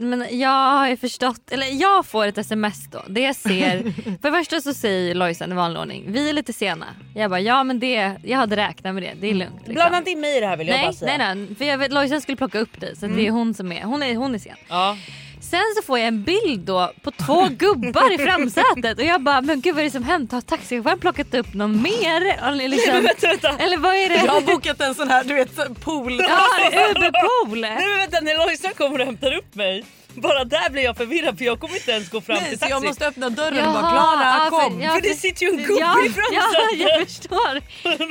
Men jag har ju förstått, eller jag får ett sms då. Det jag ser, för det första så säger Lojsan i vanlig ordning, vi är lite sena. Jag bara ja men det, jag hade räknat med det, det är lugnt. Liksom. Blanda inte in mig i det här vill jag nej, bara säga. nej nej, för jag vet, Lojsan skulle plocka upp dig så det är hon som är, hon är, hon är sen. Ja. Sen så får jag en bild då på två gubbar i framsätet och jag bara men gud vad är det som hänt? Har taxichauffören plockat upp någon mer? Eller Liksom, Vänta, vänta. eller vad är det? Jag har bokat en sån här du vet pool. Ja, Uberpool! Nej men vänta när Lojsan kommer och hämtar upp mig. Bara där blir jag förvirrad för jag kommer inte ens gå fram Nej, till så taxi. jag måste öppna dörren och Jaha, bara alltså, Klara ja, för- kom. ja, För det sitter ju en gubbe ja, i Ja, framsätet. jag förstår.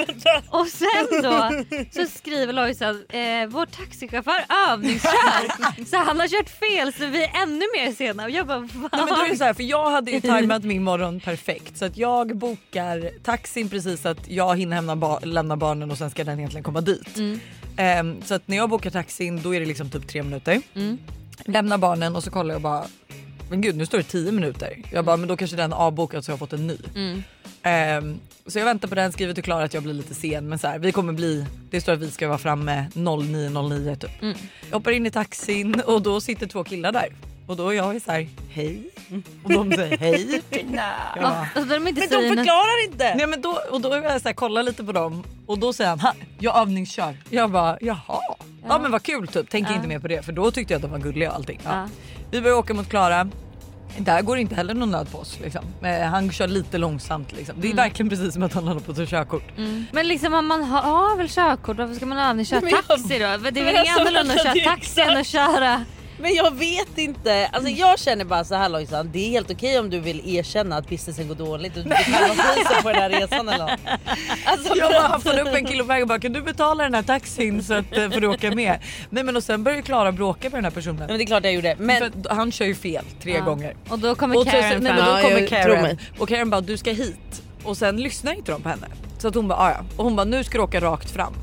Vänta. Och sen då så skriver Lojsan, eh, vår taxichaufför övningskör så han har kört fel så vi är ännu mer sena. Och jag bara va? Nej, men då är det så här, för jag hade ju tajmat min morgon perfekt så att jag bokar taxin precis så att jag hinner hämna ba- lämna barnen och sen ska den egentligen komma dit. Ehm, så att när jag bokar taxin då är det liksom typ tre minuter. Lämnar barnen och så kollar jag bara men gud nu står det 10 minuter. Jag bara men då kanske den är avbokad så jag har fått en ny. Ehm, så jag väntar på den, skriver till Klara att jag blir lite sen men så här, vi kommer bli, det står att vi ska vara framme 09.09 typ. Jag hoppar in i taxin och då sitter två killar där. Och då är jag så här, hej. Och de säger hej. Jag bara, Alltså, de inte Men säger de något. förklarar inte. Nej, men då, och då är jag så här, kollar lite på dem och då säger han "Ha, jag övningskör. Jag bara jaha. Ja. men vad kul typ, tänker inte mer på det för då tyckte jag att de var gulliga och allting. Ja. Ja. Vi börjar åka mot Klara. Där går det inte heller någon nöd på oss. Liksom. Eh, han kör lite långsamt. Liksom. Det är verkligen precis som att han håller på att ta körkort. Men liksom om man har, har väl körkort varför ska man övningsköra Men jag- taxi då? För Det är Men väl inget alltså, annorlunda att det är köra taxi än att köra Men jag vet inte. Alltså jag känner bara så här Lojsan, det är helt okej om du vill erkänna att businessen går dåligt och du vill kalla priset på den här resan eller något. Alltså, Jag för bara att- haffade upp en kille på vägen och bara kan du betala den här taxin så att eh, får du åka med. Nej men och sen börjar ju Klara bråka med den här Nej, men personen. det är klart jag gjorde. Men För att han kör ju fel tre gånger. och då kommer Och så- Karen nej, men fram. då Ja, kommer jag tror Karen mig. och Karen bara du ska hit och sen lyssnar inte de på henne. Så att hon bara "Ah, ja och hon bara nu ska du åka rakt fram.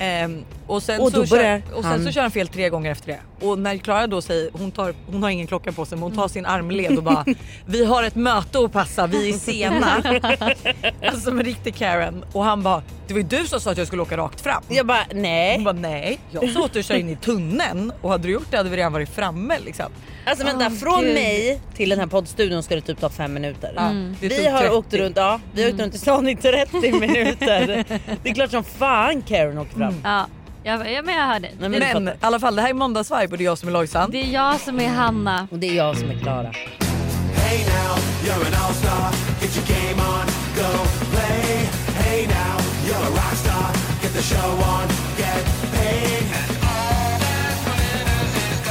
Ehm, och sen, Och så då börjar kör, och sen han- så kör han fel tre gånger efter det. Och när Klara då säger, hon, tar, hon har ingen klocka på sig men hon tar sin armled och bara vi har ett möte att passa, vi är sena. alltså som en riktig Karen. Och han bara det var ju du som sa att jag skulle åka rakt fram. jag bara Hon nej. bara nej, jag sa åt dig att köra in i tunneln och hade du gjort det hade vi redan varit framme liksom. Alltså vänta Åh, från gud. mig till den här poddstudion ska det typ ta fem minuter. Mm. Ja, det typ Vi tog har 30. åkt runt, ja, vi har åkt runt i stan i 30 minuter. Det är klart som fan Karen åkte fram. Ja, jag, ja, men jag hör dig. Nej, men- Men i alla fall det här är måndagsvibe och det är jag som är Lojsan. Det är jag som är Hanna. Och det är jag som är Klara. Hey now, you're an all-star. Get your game on, go play. Hey now, you're a rock star. Get the show on, get paid. And all that glitters is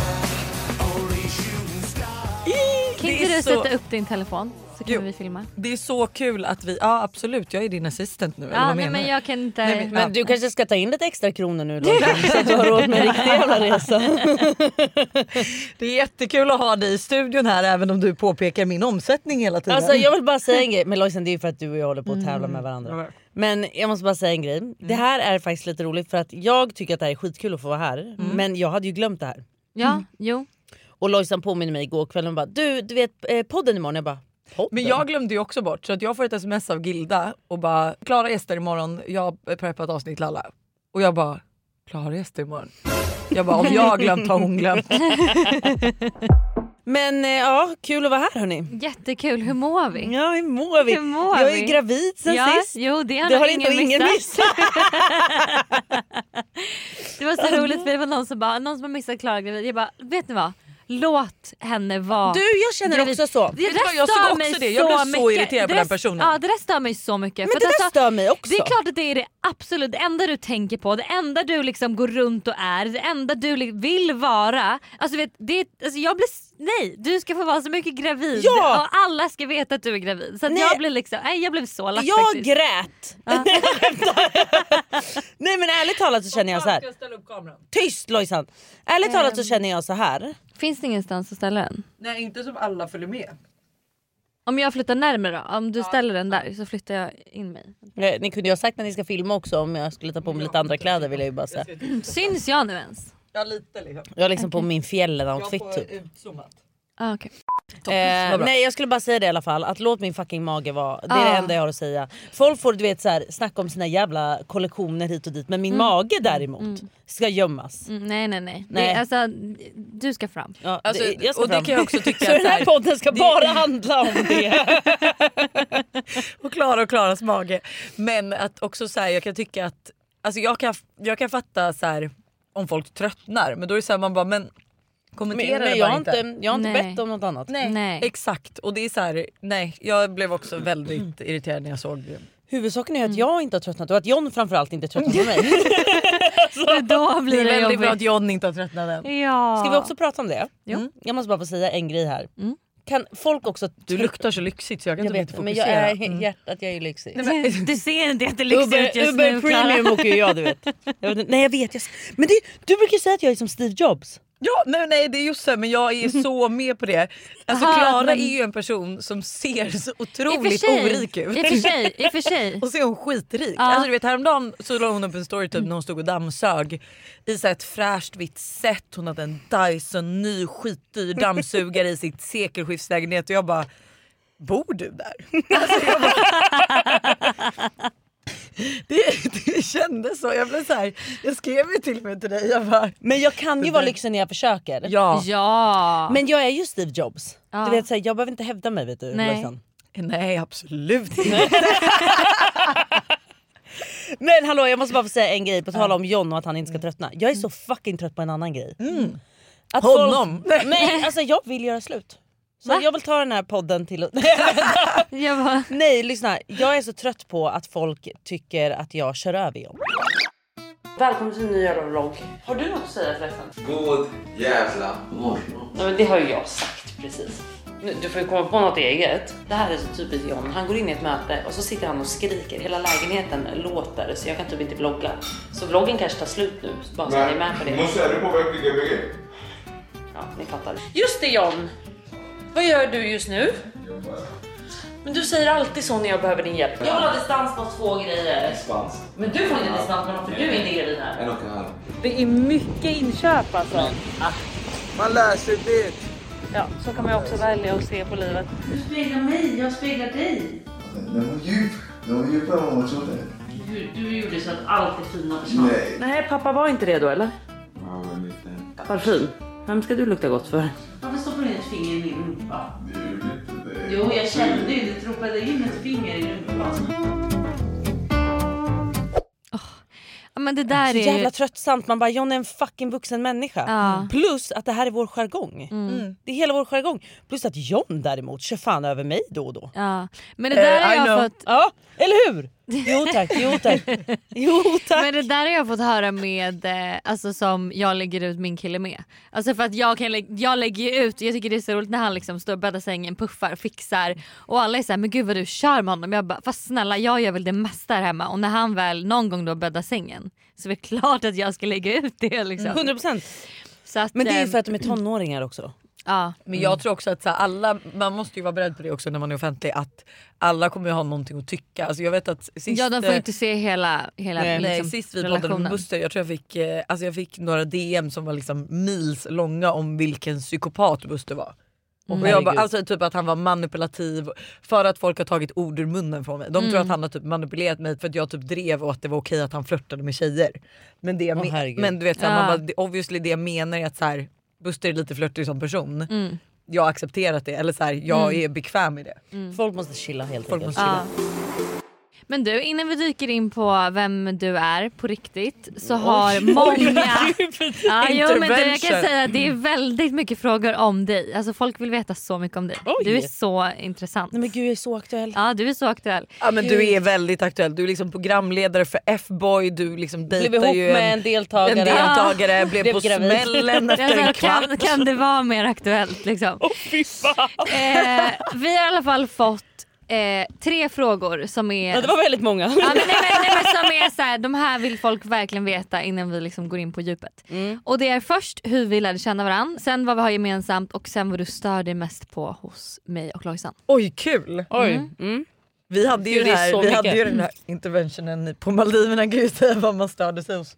gold. Only shooting stars. Kan Det inte är du så- sätta upp din telefon så kan Jo. vi filma? Det är så kul att vi, ja absolut jag är din assistent nu eller Ja, vad nej, menar men du? jag kan inte... Nej, men- Men du kanske ska ta in lite extra kronor nu Lojsan så att du har råd med en riktig jävla resa. Det är jättekul att ha dig i studion här även om du påpekar min omsättning hela tiden. Alltså jag vill bara säga en grej, men Lojsan det är ju för att du och jag håller på att tävla Mm. med varandra. Men jag måste bara säga en grej. Det här är faktiskt lite roligt för att jag tycker att det här är skitkul att få vara här. Mm. Men jag hade ju glömt det här. Ja, jo. Och Lojsan påminner mig igår kväll och bara du, du vet eh, podden imorgon. Jag bara podden? Men jag glömde ju också bort så att jag får ett sms av Gilda och bara “Klara gäster imorgon, jag har preppat avsnitt till alla”. Och jag bara “Klara gäster imorgon”. Jag bara om jag har glömt har hon glömt. Men eh, ja, kul att vara här hörni. Jättekul. Hur mår vi? Ja hur mår vi? Mm. Hur mår jag är vi? ju gravid Mm, sen ja, sist. jo, det har, Det nog har ingen, inte ingen missat. missat. Det var så roligt för det var någon som bara, någon som har missat Klara gravid. Jag bara, vet ni vad? Låt henne vara. Du jag känner gravid. också så. Det Vet du vad, där jag såg stör också mig det. Jag blev så mycket. irriterad på Det där- den personen. Ja, det där stör mig så mycket. Men det där stör mig också. Det är klart att det är det absolut enda du tänker på, det enda du liksom går runt och är, det enda du li- vill vara. Alltså, vet, det, är- alltså jag blir, s- nej du ska få vara så mycket gravid Ja! och alla ska veta att du är gravid. Så att Nej. jag blir liksom, nej jag blev så lack Jag faktiskt. grät. Nej men ärligt talat så känner jag så här. ställa upp kameran? Tyst Lojsan! Ehm. Ärligt talat så känner jag så här. Finns det ingenstans att ställa den? Nej inte som alla följer med. Okej Om jag flyttar närmare då? Om du ställer den där så flyttar jag in mig. Eh, Ni kunde ju ha sagt när ni ska filma också om jag skulle ta på mig lite andra kläder vill jag ju bara säga. Syns jag nu ens? Ja lite liksom. Jag har liksom på min fjällen-outfit typ. utzoomat. Ah, okay. Eh, nej jag skulle bara säga det i alla fall, att låt min fucking mage vara. Det är det Ah. enda jag har att säga. Folk får du vet så här, snacka om sina jävla kollektioner hit och dit men Mm. min mage däremot ska gömmas. Mm, nej nej nej. Nej. Det, alltså, du ska fram. Ja, Alltså, det, jag ska och det fram. kan jag också tycka Så att den så här här, podden ska bara handla om det. och Klara och Klaras mage. Men att också så här, jag kan tycka att, alltså jag kan, jag kan fatta så här, om folk tröttnar men då är det så här, man bara men kommentera Men, men det jag bara har inte, jag har inte Nej. bett om något annat. Mm. Nej. Nej. Exakt och det är så här, nej jag blev också Mm. väldigt irriterad när jag såg det. Huvudsaken är att Mm. jag inte har tröttnat och att John framförallt inte har tröttnat på mig. För då Det blir är det, väldigt bra att jobbigt. John inte har tröttnat än. Ja. Ska vi också prata om det? Mm. Jag måste bara få säga en grej här. Kan folk också... Mm. Du luktar så lyxigt så jag kan jag typ vet, inte men fokusera. jag är hjärtat jag är lyxig. Du, du ser inte jättelyxig ut Uber, just Uber nu Klara. Premium åker ju jag du vet. jag vet. inte- Nej jag vet. Jag, s- men det, du brukar säga att jag är som Steve Jobs. Ja, nej, nej det är just så här, men jag är så med på det. Alltså Aha, Klara men- är ju en person som ser så I och otroligt för sig- orik ut. I och för sig, i och för sig. Och så är hon skitrik. Ja. Alltså, du vet, häromdagen så la hon upp en story typ, när hon stod och dammsög i så här, ett fräscht vitt set. Hon hade en Dyson ny skitdyr dammsugare i sitt sekelskiftslägenhet och jag bara Bor du där? Alltså, jag bara- Det, det kändes så. Jag blev så här, jag skrev ju till och med till dig. Jag bara, Men jag kan ju Det vara där- lyxig när jag försöker. ja. Ja. Men jag är ju Steve Jobs. Ja. Du vet, så här, jag behöver inte hävda mig vet du. Nej. Lojsan. Nej absolut inte. Men hallå jag måste bara få säga en grej på tal om John och att han inte ska Mm. tröttna. Jag är så fucking trött på en annan grej. Att Honom! Folk, men alltså jag vill göra slut. Så Va? jag vill ta den här podden till... Jag bara, Nej lyssna, jag är så trött på att folk tycker att jag kör över John. Välkommen till en ny jävla vlogg. Har du något att säga förresten? God jävla morgon. Nej men det har ju jag sagt precis. Nu, Du får ju komma på något eget. Det här är så typiskt John. Han går in i ett möte och så sitter han och skriker. Hela lägenheten låter så jag kan typ inte vlogga. Så vloggen kanske tar slut nu. så Bara så att ni är med på det. Måste du på väg till Gbg? Ja, ni fattar. Just det John! Vad gör du just nu? Men du säger alltid så när jag behöver din hjälp. Jag vill ha distans på två grejer. Svans. Men du får ingen distans med något för du är inte gravid här. En och en halv. Det är mycket inköp alltså. Man lär sig det. Ja, så kan man ju också välja att se på livet. Du speglar mig, jag speglar dig. Den var djup. Den var djupare än vad man trodde. Du, du gjorde så att allt det fina Nej. Nej, pappa var inte redo eller? Ja, men lite. Parfym. Vem ska du lukta gott för? Varför stoppar du in ett finger i min rumpa? Det gjorde inte det. Jo, jag kände ju. Du droppade in ett finger i rumpan. ja, men det där är ju... Jävla tröttsamt. Man bara, John är en fucking vuxen människa. Mm. Ja. Mm. Plus att det här är vår jargong. Mm. Det är hela vår jargong. Plus att John däremot kör fan över mig då och då. Ja. Men det där Eh, har I jag know. fått... Ja, eller hur? Jo tack, jo tack. Jo tack. Men det där har jag fått höra med, eh, alltså som jag lägger ut min kille med. Alltså för att jag, kan lä- jag lägger ju ut, jag tycker det är så roligt när han liksom står och bäddar sängen, puffar, fixar och alla är såhär men gud vad du kör med honom. Jag bara fast snälla jag gör väl det mesta här hemma och när han väl någon gång då bäddar sängen så är det klart att jag ska lägga ut det liksom. 100%. Så att, Mm. Men det är ju eh, för att de är tonåringar också. ja. Men jag tror också att så här, alla, man måste ju vara beredd på det också när man är offentlig att alla kommer ju ha någonting att tycka. Alltså jag vet att sist, ja de får eh, ju inte se hela, hela nej, liksom, eh, sist vi poddade med relationen. Buster, jag tror jag fick, eh, alltså jag fick några DM som var liksom mils långa om vilken psykopat Buster var. Och jag bara, Mm. Herregud. alltså typ att han var manipulativ för att folk har tagit ord ur munnen från mig. De Mm. tror att han har typ manipulerat mig för att jag typ drev och att det var okej att han flörtade med tjejer. Men, det jag Åh, men- herregud. Ah. men du vet, så här, man Ja. bara, det- obviously det jag menar är att så här, Buster är lite flörtig som person. Mm. Jag har accepterat det, eller så här, jag är bekväm i det. Mm. Folk måste chilla helt Folk enkelt. måste Ja. Men du, innan vi dyker in på vem du är på riktigt så har många... ja, jo, men du, jag kan Intervention. säga att det är väldigt mycket frågor om dig. Alltså folk vill veta så mycket om dig. Oj. Du är så intressant. Nej men gud jag är så aktuell. Ja, du är så aktuell. Ja, men du är väldigt aktuell. Du är liksom programledare för F-boy, du liksom Blev dejtar ihop ju med en, en deltagare. en deltagare, blev Blev på gravid. smällen efter en Alltså, kvart. kan, kan det vara mer aktuellt liksom? Oh, fy fan. Eh, vi har i alla fall fått eh, tre frågor som är... Ja, det var väldigt många. Ja, men nej, men, nej, men som är så här, de här vill folk verkligen veta innan vi liksom går in på djupet. Och det är först hur vi lärde känna varandra, sen vad vi har gemensamt och sen vad du stör dig mest på hos mig och Lojsan. Oj kul! Oj. Mm. Vi hade ju, Gud, det det är här, så vi hade mycket. ju den här interventionen på Maldiverna, kan ju säga vad man störde sig hos,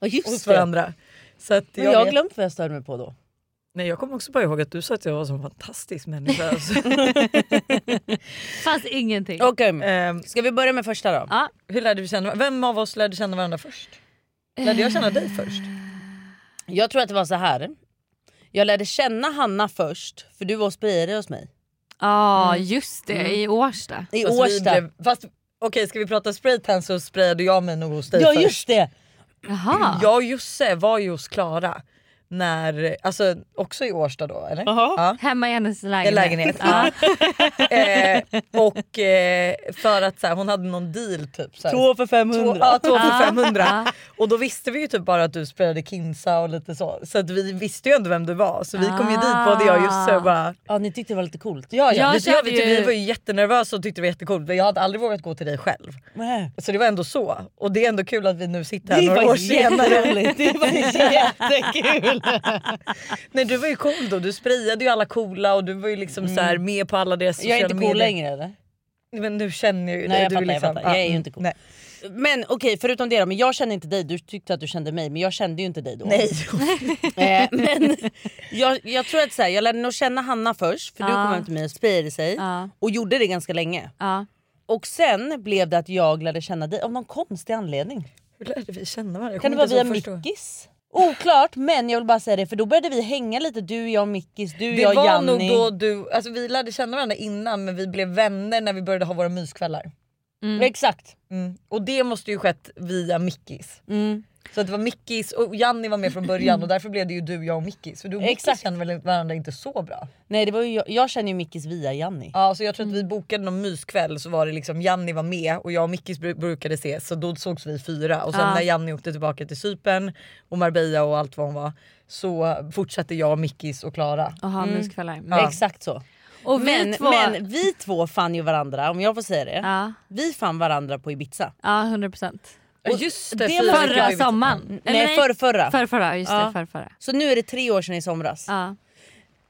Ja, just hos det. varandra. Så att Men jag, jag har vet- glömt vad jag störde mig på då. Nej, jag kommer också bara ihåg att du sa att jag var en sån fantastisk människa. alltså. Fanns ingenting. Okej, Ehm, ska vi börja med första då? Ja. hur lärde vi känna Vem av oss lärde känna varandra först? Lärde jag känna dig först? Eh, Jag tror att det var så här. Jag lärde känna Hanna först, för du var och spirade hos mig. Ja just det, i Årsta. I Fast Alltså, vi Årsta. blev- Fast okej, ska vi prata spraytan så sprayade jag mig nog hos dig Ja först. just det! Jaha. Jag och Josse var ju hos Klara, när, alltså, också i Årsta då eller? Jaha. Ja. Hemma i hennes lägenhet. En lägenhet. Ja. Eh, och eh, för att så här, hon hade någon deal typ. Så här, Två för 500. Två, ja, två Ja. för 500. Och då visste vi ju typ bara att du spelade Kinsa och lite så. Så att vi visste ju ändå vem du var. Så vi kom ju dit både jag och Josse och bara... Ja ni tyckte det var lite coolt. Ja. Ja, ja. vi, körde vi, tyckte- vi ju- var ju jättenervösa och tyckte det var jättekul. Men jag hade aldrig vågat gå till dig själv. Så det var ändå så. Och det är ändå kul att vi nu sitter här Det några år var senare. jätteroligt. Det var jättekul. Nej du var ju cool då. Du sprayade ju alla coola och du var ju liksom så här med på alla deras Mm. Jag är inte sociala cool medier. längre eller? Men nu känner jag ju Nej, dig. jag Du fattar, jag liksom- fattar. Jag ja, är ju mm, inte cool. Nej. Men okej förutom det då, men jag kände inte dig. Du tyckte att du kände mig men jag kände ju inte dig då. Nej. Eh, men jag, jag tror att så här, jag lärde nog känna Hanna först för du Ja. kom hem till mig och spejade sig Ja. och gjorde det ganska länge. Ja. Och sen blev det att jag lärde känna dig av någon konstig anledning. Hur lärde vi känna varandra? Jag Kan det kommer vara inte via ens ihåg första gången. Mickis? Oklart men jag vill bara säga det för då började vi hänga lite du, jag, Mickis, du, Det jag, var Janni. nog då du, alltså vi lärde känna varandra innan men vi blev vänner när vi började ha våra myskvällar. Exakt. Mm. Och det måste ju skett via Mickis. Mm. Så att det var Mickis och Janni var med från början och därför blev det ju du, jag och Mickis. För du och Mickis Exakt. känner väl varandra inte så bra? Nej det var ju jag, jag känner ju Mickis via Janni. Ja, så jag tror att vi bokade någon myskväll så var det liksom Janni var med och jag och Mickis bru- brukade ses så då sågs vi fyra och sen Ja. när Janni åkte tillbaka till Cypern och Marbella och allt vad hon var så fortsatte jag, Mickis och Klara. Och ha myskvällar. Mm. Exakt så. Och vi Men vi, två. men vi två fann ju varandra, om jag får säga det. Ja. Vi fann varandra på Ibiza. ja 100%. Och just det fyra var- kan vi Förra väl- sommaren. Nej, förrförra. Förrförra, just det. Ja. Förrförra. Så nu är det tre år sedan i somras. Ja. Mm.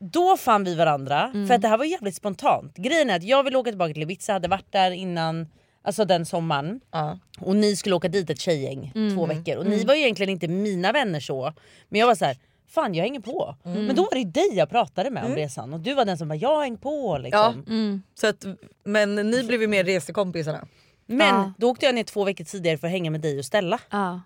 Då fann vi varandra för att det här var jävligt spontant. Grejen är att jag ville åka tillbaka till Ibiza, hade varit där innan Alltså den sommaren. Ja. Och ni skulle åka dit ett tjejgäng två Mm. veckor. Och ni var ju egentligen inte mina vänner så. Men jag var så här, fan jag hänger på. Mm. Men då var det ju dig jag pratade med om resan. Och du var den som bara, jag hänger på Ja. Mm. liksom. Så att, men ni blev ju mer resekompisarna. Men Ja. då åkte jag ner två veckor tidigare för att hänga med dig och Stella. Ja.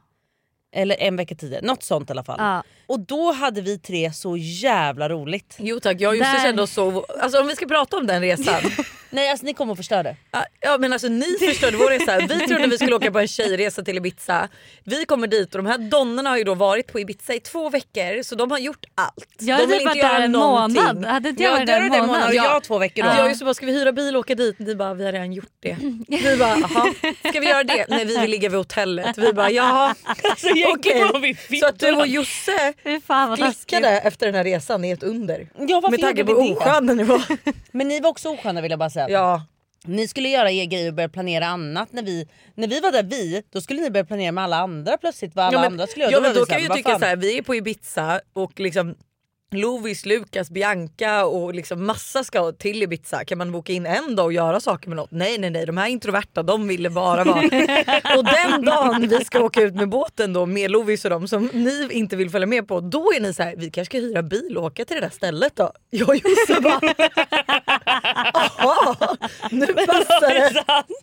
Eller en vecka tidigare, något sånt i alla fall. Ja. Och då hade vi tre så jävla roligt. Jo tack, jag och Jussi Där- kände oss så... Alltså om vi ska prata om den resan. Nej alltså ni kom och förstörde. ja men alltså ni förstörde vår resa. Vi trodde vi skulle åka på en tjejresa till Ibiza. Vi kommer dit och de här donnorna har ju då varit på Ibiza i två veckor så de har gjort allt. Jag de hade typ varit där en månad. Hade inte jag Ja, varit du där hade en den månad? månaden och Ja. jag två veckor då. Jag är så bara, ska vi hyra bil och åka dit? Ni bara, vi har redan gjort det. Vi bara, jaha. Ska vi göra det? Nej vi vill ligga vid hotellet. Vi bara, jaha. Så jag Okej. gick på vid Så att du fittorna. och Josse Fy fan vad klickade efter den här resan är ett under. Ja, varför Med tanke på gjorde hur vi det? oskön den var. Men ni var också osköna vill jag bara säga. Ja. Ni skulle göra er grej och börja planera annat. När vi, när vi var där vi, då skulle ni börja planera med alla andra plötsligt. Vad alla Ja, men, andra skulle göra. ja, var men vi då så här, kan jag "Vad ju tycka fan?" så här, vi är på Ibiza och liksom Lovis, Lukas, Bianca och liksom massa ska till Ibiza. Kan man boka in en dag och göra saker med något? Nej nej nej de här introverta de ville bara vara. och den dagen vi ska åka ut med båten då med Lovis och dem som ni inte vill följa med på. Då är ni så här, vi kanske ska hyra bil och åka till det där stället då. Jag och Josse bara, jaha nu passar det.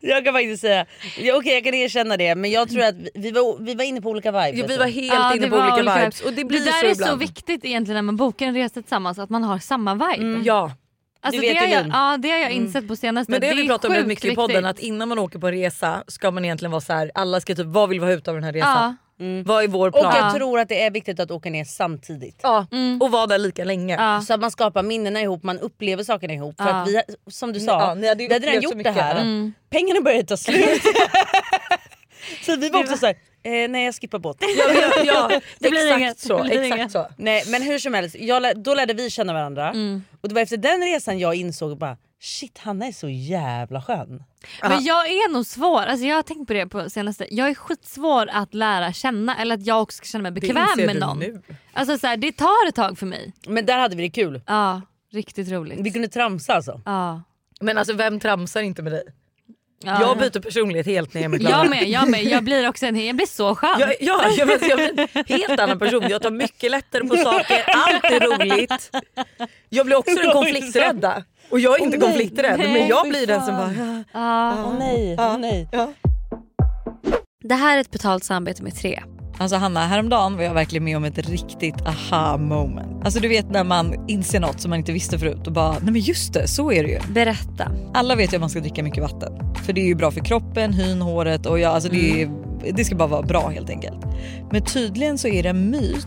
Jag kan faktiskt säga, ja, okej jag kan erkänna det men jag tror att vi, vi, var, vi var inne på olika vibes. Ja, Vi jag var tror. helt Ja, inne det på var olika vibes och det blir där så är ibland. så viktigt egentligen när man bokar en resa tillsammans att man har samma vibe. Ja. Alltså, Du vet det, har jag, Elin. ja, det har jag insett på senaste. Mm. Men det har vi är pratat om väldigt sjukt mycket i podden att innan man åker på en resa ska man egentligen vara så här, alla ska typ, vad vill vi ha ut av den här ja, resan? Vad är vår Och plan? jag tror att det är viktigt att åka ner samtidigt. ja. och vara där lika länge. Ja. Så att man skapar minnena ihop, man upplever sakerna ihop. För Ja. att vi, som du sa, Ja, ni hade ju vi hade redan upplevt så gjort det mycket. här. Pengarna började ta slut. så vi var också såhär, eh, nej jag skippar båten. Ja, ja, ja. Det blir exakt inget. så. Det blir Exakt inget. så. Nej men hur som helst, jag, lär- då lärde vi känna varandra. Och det var efter den resan jag insåg bara shit Hanna är så jävla skön. Men jag är nog svår, alltså jag har tänkt på det på senaste, jag är skitsvår att lära känna eller att jag också ska känna mig bekväm inser med du någon. nu. Alltså så här, det tar ett tag för mig. Men där hade vi det kul. Ja, riktigt roligt. Vi kunde tramsa alltså. Ja. Men alltså vem tramsar inte med dig? Ja. Jag byter personlighet helt när jag är med Klara. Jag med, jag med. Jag blir också en, jag blir så skön. Jag, ja, jag, men, jag blir en helt annan person. Jag tar mycket lättare på saker, allt är roligt. Jag blir också den konflikträdda. Och jag är inte konflikträdd men jag blir den som bara... Ja. Åh nej, åh nej. Det här är ett betalt samarbete med tre. Alltså Hanna, häromdagen var jag verkligen med om ett riktigt aha moment. Alltså du vet när man inser något som man inte visste förut och bara, nej men just det, så är det ju. Berätta. Alla vet ju att man ska dricka mycket vatten. För det är ju bra för kroppen, hyn, håret och ja, alltså det, är, det ska bara vara bra helt enkelt. Men tydligen så är det en myt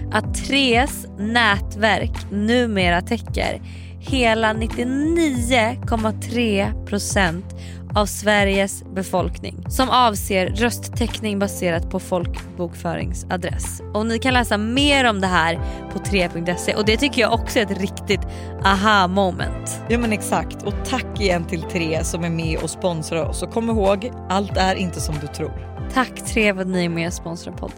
att Tres nätverk numera täcker hela 99,3% av Sveriges befolkning som avser rösttäckning baserat på folkbokföringsadress. Och ni kan läsa mer om det här på 3.se och det tycker jag också är ett riktigt aha moment. Ja men exakt och tack igen till Tre som är med och sponsrar oss och kom ihåg allt är inte som du tror. Tack Tre för att ni är med och sponsrar podden.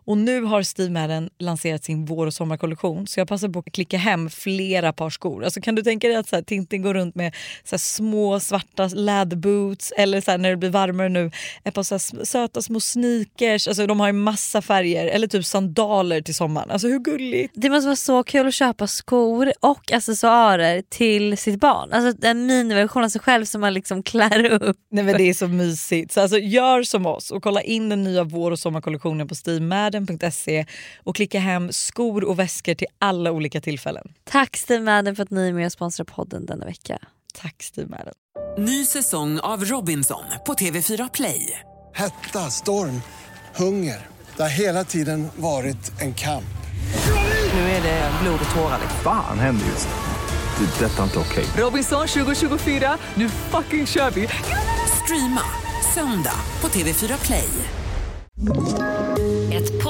Och nu har Steve Madden lanserat sin vår och sommarkollektion så jag passar på att klicka hem flera par skor. Alltså, kan du tänka dig att så här, Tintin går runt med så här, små svarta läderboots eller så här, när det blir varmare nu ett par så här, sm- söta små sneakers. Alltså, de har ju massa färger eller typ sandaler till sommaren. Alltså hur gulligt? Det måste vara så kul att köpa skor och accessoarer till sitt barn. Alltså en miniversion av sig själv som man liksom klär upp. Nej men det är så mysigt. Så alltså, gör som oss och kolla in den nya vår och sommarkollektionen på steamadden.se och klicka hem skor och väskor till alla olika tillfällen. Tack Steve Madden för att ni är med och sponsrar podden denna vecka. Tack Steamadden. Ny säsong av Robinson på TV4 Play. Hetta, storm, hunger. Det har hela tiden varit en kamp. Nu är det blod och tårar. liksom. Fan händer just nu. Det. är Detta är inte okej. Robinson 2024, nu fucking kör vi! Streama söndag på TV4 Play. Ett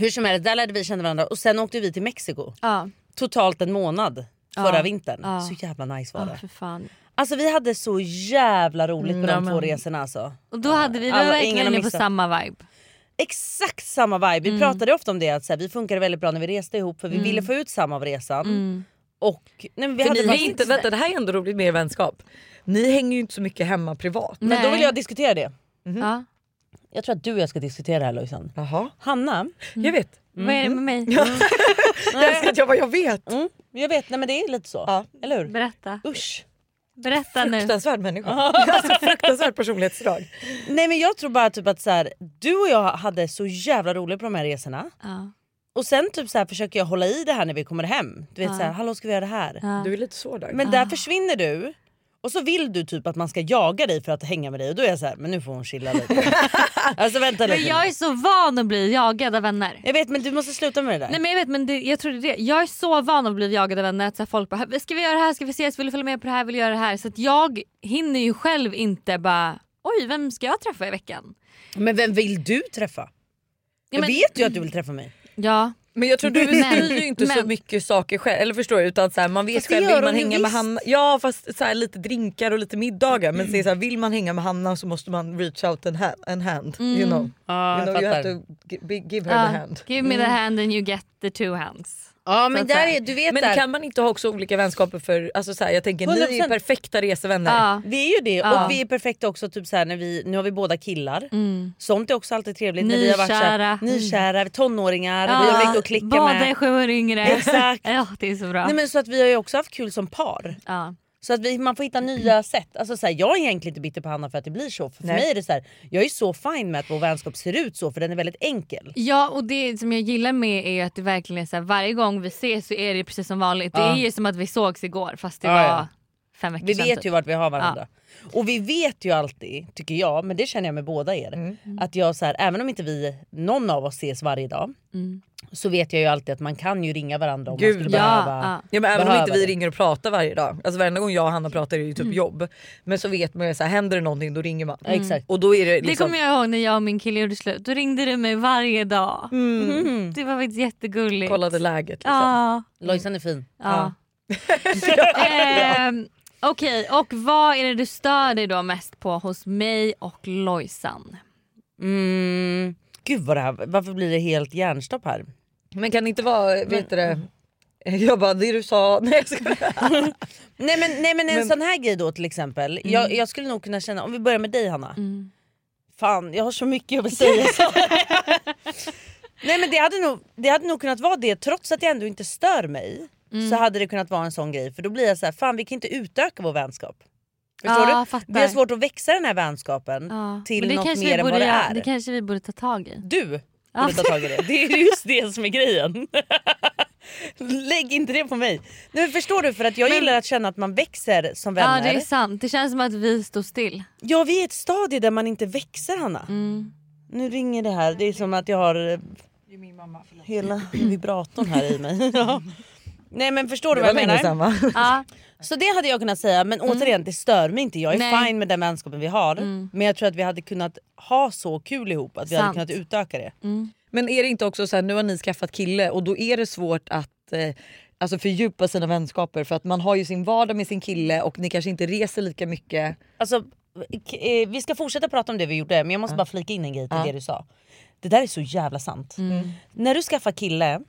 Hur som helst, där lärde vi känna varandra och sen åkte vi till Mexiko. Ja, Totalt en månad förra Ja. vintern. Ja. Så jävla nice var det. för fan. Alltså vi hade så jävla roligt på de två resorna alltså. Och då hade vi, vi var Alla- ingen verkligen har inne på missat. samma vibe. Exakt samma vibe. Mm. Vi pratade ofta om det att så här, vi funkade väldigt bra när vi reste ihop för vi ville få ut samma av resan. Mm. Och nej, men vi hade Ni bara- är inte, vänta, det här är ändå roligt med er vänskap. Ni hänger ju inte så mycket hemma privat. Men då Nej. vill jag diskutera det. Ja. Mm. Jag tror att du och jag ska diskutera det här Lojsan. Jaha, Hanna, Mm. jag vet. Vad är det med mig? Mm, Jag älskar att jag bara, jag vet. mm, jag vet, nej men det är lite så. Ja. Eller hur? Berätta. Usch. Berätta nu. Fruktansvärd människa. alltså, fruktansvärd personlighetsdrag. Nej men jag tror bara typ att så här, du och jag hade så jävla roligt på de här resorna. Ja. Och sen typ så här, försöker jag hålla i det här när vi kommer hem. Du vet så här, hallå ska vi göra det här? Ja. Du är lite så där. Men där försvinner du. Och så vill du typ att man ska jaga dig för att hänga med dig och då är jag så här, men nu får hon chilla lite. alltså vänta lite. Men jag är så van att bli jagad av vänner. Jag vet men du måste sluta med det där. Nej men jag vet men det, jag tror det är det. Jag är så van att bli jagad av vänner. Att så här, folk bara “ska vi göra det här? Ska vi ses? Vill du följa med på det här? Vill du göra det här?” Så att jag hinner ju själv inte bara “oj, vem ska jag träffa i veckan?” Men vem vill du träffa? Ja, men- Jag vet ju att du vill träffa mig. Ja. Men jag tror du Men- styr ju inte så men- mycket saker själv. Eller förstår du? Utan så här, man vet Fast det själv, gör vill man hon ju hänga med visst. Hanna? Ja fast så här, lite drinkar och lite middagar. Men så är det så här, vill man hänga med Hanna så måste man reach out and hand. And hand You Mm. know, you, Ja, jag know you have fattar. to gi- be- give her Ja, the hand. “Give me the Mm. hand and you get the two hands”. Ja, men där är- du vet men där- kan man inte ha också olika vänskaper för, alltså så här, jag tänker ni är ju 100%. perfekta resevänner. Vi är ju det Ja. och vi är perfekta också typ så här, när vi, nu har vi båda killar. Sånt är också alltid trevligt. När vi har varit så Mm. Nykära. här, nykära, tonåringar, Ja, vi har mycket att klicka båda med. är sju år yngre. Exakt. Ja, det är så bra. Nej, men så att vi har ju också haft kul som par. Så att vi, man får hitta nya sätt. Alltså så här, jag är egentligen inte bitter på Hanna för att det blir så. För, för Nej. mig är det så här, jag är så fine med att vår vänskap ser ut så för den är väldigt enkel. Ja och det som jag gillar med är att det verkligen är så här, varje gång vi ses så är det precis som vanligt. Det Ja. är ju som att vi sågs igår fast det Ja, var ja. fem veckor Vi sedan. vet typ. ju vart vi har varandra. Och vi vet ju alltid, tycker jag, men det känner jag med båda er. Mm. Att jag så här, även om inte vi, någon av oss ses varje dag. Mm. Så vet jag ju alltid att man kan ju ringa varandra om man Gud skulle ja. behöva. ja men även om behöva inte vi det. ringer och pratar varje dag. Alltså varenda gång jag och Hanna pratar är det ju typ jobb. Men så vet man ju såhär händer det någonting då ringer man. Mm. Exakt. Och då är det Det liksom. kommer jag ihåg när jag och min kille gjorde slut. Då ringde du mig varje dag. Mm. Det var faktiskt jättegulligt. Kollade läget liksom. Ja. Lojsan är fin. Ja. Ehm, Okej och vad är det du stör dig då mest på hos mig och Lojsan? Mm. Gud vad det här, varför blir det helt hjärnstopp här? Men kan det inte vara, vet du det? Jag bara det du sa, nej jag skojar. Nej men, nej, men en Men- sån här grej då till exempel. Jag, Mm. jag skulle nog kunna känna, om vi börjar med dig Hanna. Fan jag har så mycket jag vill säga. så. nej men det hade, nog, det hade nog kunnat vara det trots att jag ändå inte stör mig. Mm. Så hade det kunnat vara en sån grej för då blir jag så här, fan vi kan inte utöka vår vänskap. Förstår Ja, du? fattar. Vi har svårt att växa den här vänskapen Ja. till Men det något kanske vi mer än borde vad det göra- är. Det kanske vi borde ta tag i. Du Ja. borde ta tag i det. Det är just det som är grejen. Lägg inte det på mig. Nej, men förstår du? För att jag gillar att känna att man växer som vänner. Ja det är sant. Det känns som att vi står still. Ja vi är i ett stadie där man inte växer Hanna. Mm. Nu ringer det här, det är som att jag har eh, hela vibratorn här i mig. ja. Nej men förstår du Det vad jag var menar? länge sedan, va? Mm. Ja. Så det hade jag kunnat säga men återigen det stör mig inte. Jag är Nej. fine med den vänskapen vi har. Men jag tror att vi hade kunnat ha så kul ihop att vi Sant. hade kunnat utöka det. Men är det inte också så här, nu har ni skaffat kille och då är det svårt att eh, alltså fördjupa sina vänskaper för att man har ju sin vardag med sin kille och ni kanske inte reser lika mycket. Alltså, k- eh, vi ska fortsätta prata om det vi gjorde men jag måste bara flika in en grej Ja. till Mm. det du sa. Det där är så jävla sant. När du skaffar kille,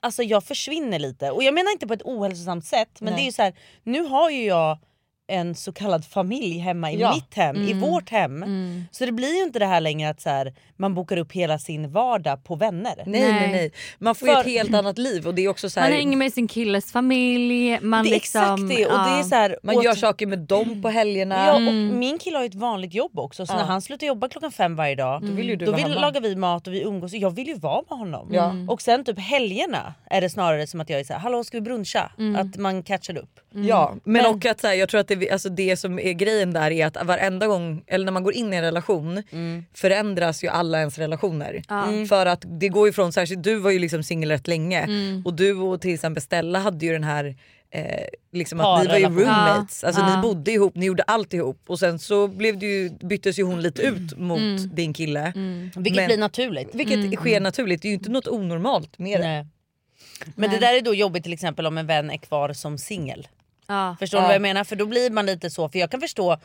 alltså jag försvinner lite. Och jag menar inte på ett ohälsosamt sätt men Nej. det är ju så här, nu har ju jag en så kallad familj hemma i Ja. mitt hem, i Mm. vårt hem. Så det blir ju inte det här längre att så här, man bokar upp hela sin vardag på vänner. Nej nej nej. Man får ju ett helt annat liv och det är också så här, Man hänger med sin killes familj. Man Det är liksom, exakt det, och det är så här- man åt- gör saker med dem på helgerna. Ja, och min kille har ju ett vanligt jobb också så Ja. när han slutar jobba klockan fem varje dag Då vill ju du då vara hemma. lagar vi mat och vi umgås och jag vill ju vara med honom. Ja. Mm. Och sen typ helgerna är det snarare som att jag är såhär, hallå ska vi bruncha? Att man catchar upp. Ja, men, och att så här, jag tror att det, alltså det som är grejen där är att varenda gång, eller när man går in i en relation förändras ju alla ens relationer. Ja. Mm. För att det går ju från, särskilt du var ju liksom singel rätt länge Mm. och du och till exempel Stella hade ju den här eh, liksom att ni var ju Parrelation. roommates, Ja. alltså Ja. ni bodde ihop, ni gjorde allt ihop och sen så blev det ju, byttes ju hon lite ut mot Mm. din kille. Vilket blir naturligt. Vilket Mm. sker naturligt, det är ju inte något onormalt med det. Nej. Men det där är då jobbigt till exempel om en vän är kvar som singel. Ja. Förstår du vad jag menar? För då blir man lite så, för jag kan förstå,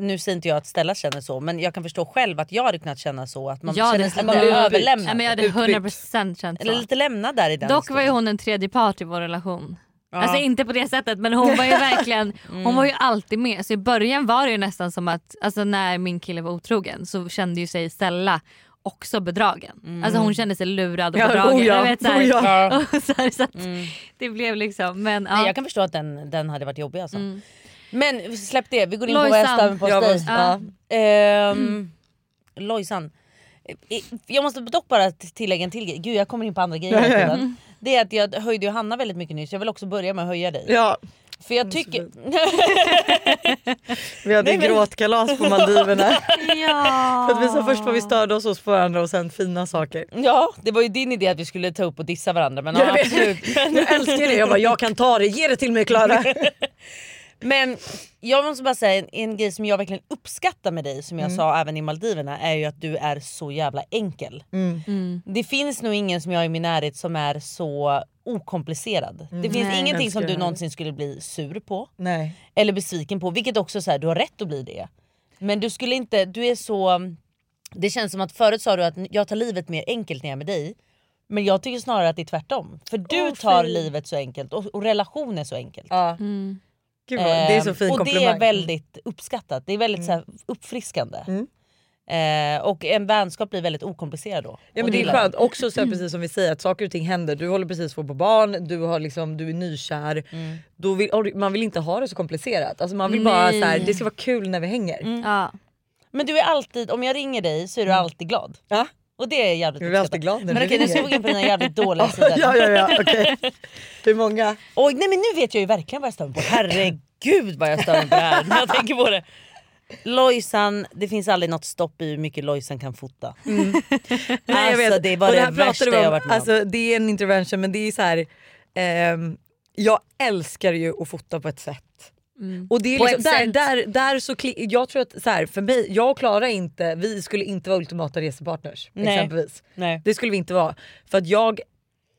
nu säger inte jag att Stella känner så men jag kan förstå själv att jag hade kunnat känna så att man Ja, det känner skulle att man jag. blir Utbytt. överlämnad. Ja, men jag hade 100% känt så. Eller lite lämnad där i den Dock var ju hon en tredje part i vår relation. Ja. Mm. Alltså inte på det sättet men hon var ju verkligen hon var ju alltid med. Så i början var det ju nästan som att alltså när min kille var otrogen så kände ju sig Stella också bedragen. Alltså hon kände sig lurad och Mm. Ja, bedragen. oh ja, Jag vet, så här, oh ja. Mm. och så här, så att Det blev liksom men ja. Mm. Nej, jag kan förstå att den, den hade varit jobbig alltså. Men släpp det, vi går in på vad Lojsan. jag stämmer på Ja, Mm. hos dig. vad- Ehm, Lojsan. Eh, Jag måste dock bara t- tillägga en till grej. Gud jag kommer in på andra Ja, grejer ja, hela ja. tiden. Det är att jag höjde ju Hanna väldigt mycket nyss, jag vill också börja med att höja dig. Ja. För jag tycker... Vi hade Nej, men- gråtkalas på Maldiverna. ja. För att vi sa först vad vi störde oss hos varandra och sen fina saker. Ah. Ja, det var ju din idé att vi skulle ta upp och dissa varandra. Men Jag ja, vet. absolut. Jag älskar det. Jag bara, jag kan ta det. Ge det till mig Klara. men jag måste bara säga en, en grej som jag verkligen uppskattar med dig som jag Mm. sa även i Maldiverna är ju att du är så jävla enkel. Mm. Det finns nog ingen som jag har i min närhet som är så okomplicerad. Mm. Det finns Nej. ingenting som Älskar du det. någonsin skulle bli sur på Nej. eller besviken på. Vilket också så här, du har rätt att bli det. Men du skulle inte, du är så... Det känns som att förut sa du att jag tar livet mer enkelt när jag är med dig. Men jag tycker snarare att det är tvärtom. För du Åh, tar fin. livet så enkelt och, och relationer så enkelt. Ja. Gud, vad- det är så fin Ehm, och det är komplimang. Mm. väldigt uppskattat. Det är väldigt så här, uppfriskande. Eh, och en vänskap blir väldigt okomplicerad då. Ja, Och men det är gillar jag. skönt också så här, precis som vi säger att saker och ting händer. Du håller precis på att få barn, du, har liksom, du är nykär. Mm. Då vill, or- man vill inte ha det så komplicerat. Alltså, man vill bara Nej. Mm. så här, det ska vara kul när vi hänger. Men du är alltid, om jag ringer dig så är du alltid glad. Ja. Och det är jävligt Jag blir alltid glad när Men Mm. du okej nu ringer. ska vi gå in på dina jävligt dåliga sidor. Ja, ja, ja, okej. Hur många? Oj nej men nu vet jag ju verkligen vad jag stör mig på. Herregud vad jag stör mig på det här när jag tänker på det. Lojsan, det finns aldrig något stopp i hur mycket Lojsan kan fota. Mm. Nej, jag Alltså, vet. det var Och det här pratar värsta du jag har varit med om. alltså, Det är en intervention men det är så här. ehm, jag älskar ju att fota på ett sätt. Mm. Och det är På liksom, ett där, sätt. där, där så kli- jag tror att så här, för mig, jag och Klara är inte, vi skulle inte vara ultimata resepartners Nej. exempelvis. Nej. Det skulle vi inte vara. För att jag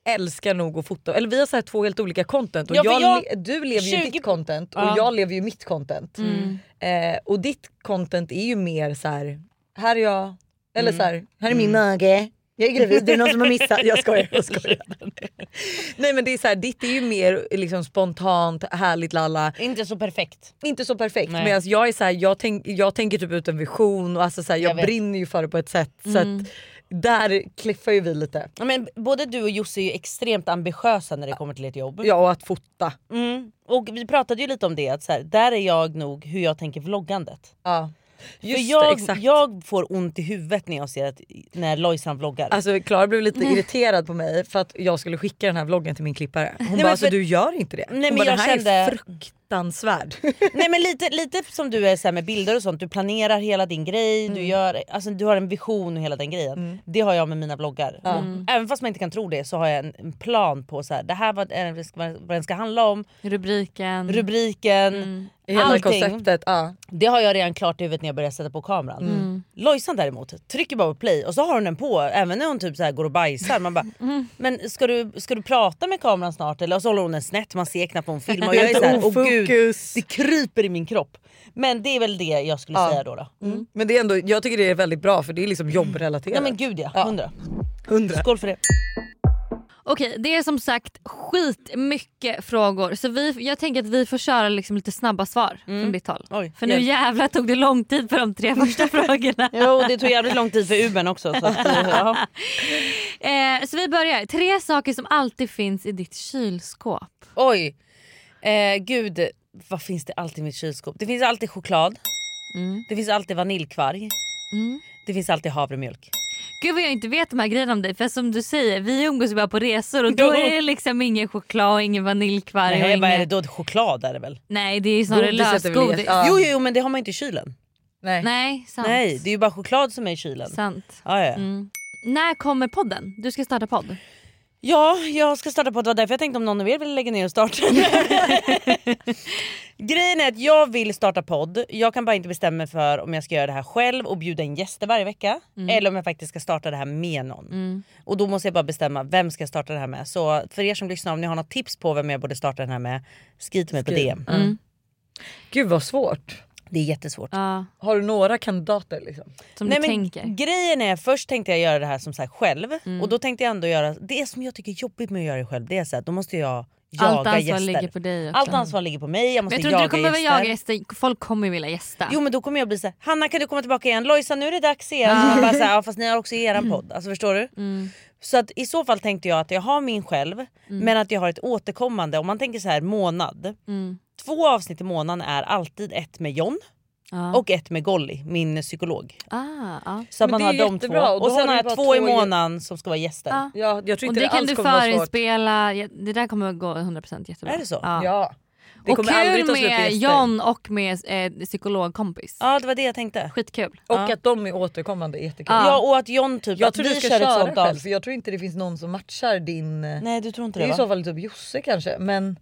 älskar nog att fota, eller vi har så här två helt olika content och Ja, för jag, jag- le- du lever ju 20 ditt content och Ja. jag lever ju mitt content. Mm. Eh, och ditt content är ju mer så här, här är jag, eller så här, här är min Mm. mage. Jag är gravid, det är någon som har missat. Jag skojar, jag skojar. Nej men det är så här, ditt är ju mer liksom spontant, härligt lalla. Inte så perfekt. Inte så perfekt. Nej. Medan jag är så här, jag, tänk, jag tänker typ ut en vision och alltså så här, Jag jag, vet. brinner ju för det på ett sätt. Mm. Så att där kliffar ju vi lite. Ja, Men både du och Josse är ju extremt ambitiösa när det kommer till ett jobb. Ja och att fota. Mm. Och vi pratade ju lite om det, att så här, där är jag nog hur jag tänker vloggandet. Ja. För Just det, jag, exakt. jag får ont i huvudet när jag ser att, när Lojsan vloggar. Alltså Klara blev lite Mm. irriterad på mig för att jag skulle skicka den här vloggen till min klippare. Hon men bara alltså för- du gör inte det. Nej, Hon bara, men jag det här är kände- fruktansvärd. Nej men lite, lite som du är så här med bilder och sånt, du planerar hela din grej, Mm. du, gör, alltså, du har en vision och hela den grejen. Det har jag med mina vloggar. Ja. Mm. Även fast man inte kan tro det så har jag en, en plan på så här, det här vad, är- vad den ska handla om. Rubriken. Rubriken. Mm. Hela allting. konceptet. Ja. Det har jag redan klart i huvudet när jag börjar sätta på kameran. Mm. Lojsan däremot trycker bara på play och så har hon den på även när hon typ så här går och bajsar. Man bara, men ska du, ska du prata med kameran snart eller? Och så håller hon den snett, man ser knappt vad hon filmar. Och jag är så här, åh gud, det kryper i min kropp. Men det är väl det jag skulle Ja. säga då. då. Mm. Men det är ändå, jag tycker det är väldigt bra för det är liksom jobbrelaterat. Nej men gud ja, hundra. Hundra. Skål för det. Okej, det är som sagt skitmycket frågor. Så vi, jag tänker att vi får köra liksom lite snabba svar från ditt håll. för nu Mm. hjälp. jävlar tog det lång tid för de tre första frågorna. Jo det tog jävligt lång tid för Uben också. Så att, ja. Eh, så vi börjar. Tre saker som alltid finns i ditt kylskåp. Oj. Eh, gud, vad finns det alltid i mitt kylskåp? Det finns alltid choklad. Det finns alltid vaniljkvarg. Det finns alltid havremjölk. Gud vad jag inte vet de här grejerna om dig. För som du säger, vi umgås ju bara på resor och då är det liksom ingen choklad och ingen vaniljkvarg. och Nej, vad är det ingen... då? Choklad är det väl? Nej det är ju snarare lösgodis. Jo, jo, jo, men det har man inte i kylen. Nej, Nej sant. Nej, det är ju bara choklad som är i kylen. Sant. Ja, ja. Mm. När kommer podden? Du ska starta podd. ja, jag ska starta på det var därför jag tänkte om någon av er vill lägga ner och starta. Grejen är att jag vill starta podd. Jag kan bara inte bestämma mig för om jag ska göra det här själv och bjuda in gäster varje vecka. Mm. Eller om jag faktiskt ska starta det här med någon. Och då måste jag bara bestämma vem ska jag starta det här med. Så för er som lyssnar om ni har något tips på vem jag borde starta den här med. Skriv till mig på Skriv. DM. Mm. Gud vad svårt. Det är jättesvårt. Har du några kandidater liksom? Nej, men Grejen är, först tänkte jag göra det här som sagt själv Mm. och då tänkte jag ändå göra, det som jag tycker är jobbigt med att göra det själv det är så här, då måste jag jaga Allt ansvar gäster. ligger på dig också. Allt ansvar ligger på mig, jag Men måste jag tror inte du jaga kommer behöva gäster. jaga gäster, folk kommer ju vilja gästa. Jo men då kommer jag bli såhär, Hanna kan du komma tillbaka igen? Lojsa nu är det dags igen. Ja. Man Bara så här, ja, fast ni har också Mm. eran podd, alltså förstår du? Så att i så fall tänkte jag att jag har min själv Mm. men att jag har ett återkommande, om man tänker så här månad. Mm. Två avsnitt i månaden är alltid ett med John Ja. och ett med Golly, min psykolog. Ah, ja. Så att man har de två. Och, sen har jag två, i månaden. månaden som ska vara gäster. Ja. Ja, jag tror inte och det det kan alls du kommer vara svårt. förinspela, Ja, det där kommer att gå 100% jättebra. Är det så? Ja. Ja. Det och kommer aldrig kul ta slut på med gäster. John och med eh, psykologkompis. Ja det var det jag tänkte. Skitkul. Och Ja. att de är återkommande är jättekul. Ja. Ja, och att John typ- jag att tror vi du ska kör ett köra sånt själv av. för jag tror inte det finns någon som matchar din... eh, Nej du tror inte det det, är va? i så fall typ Josse kanske men...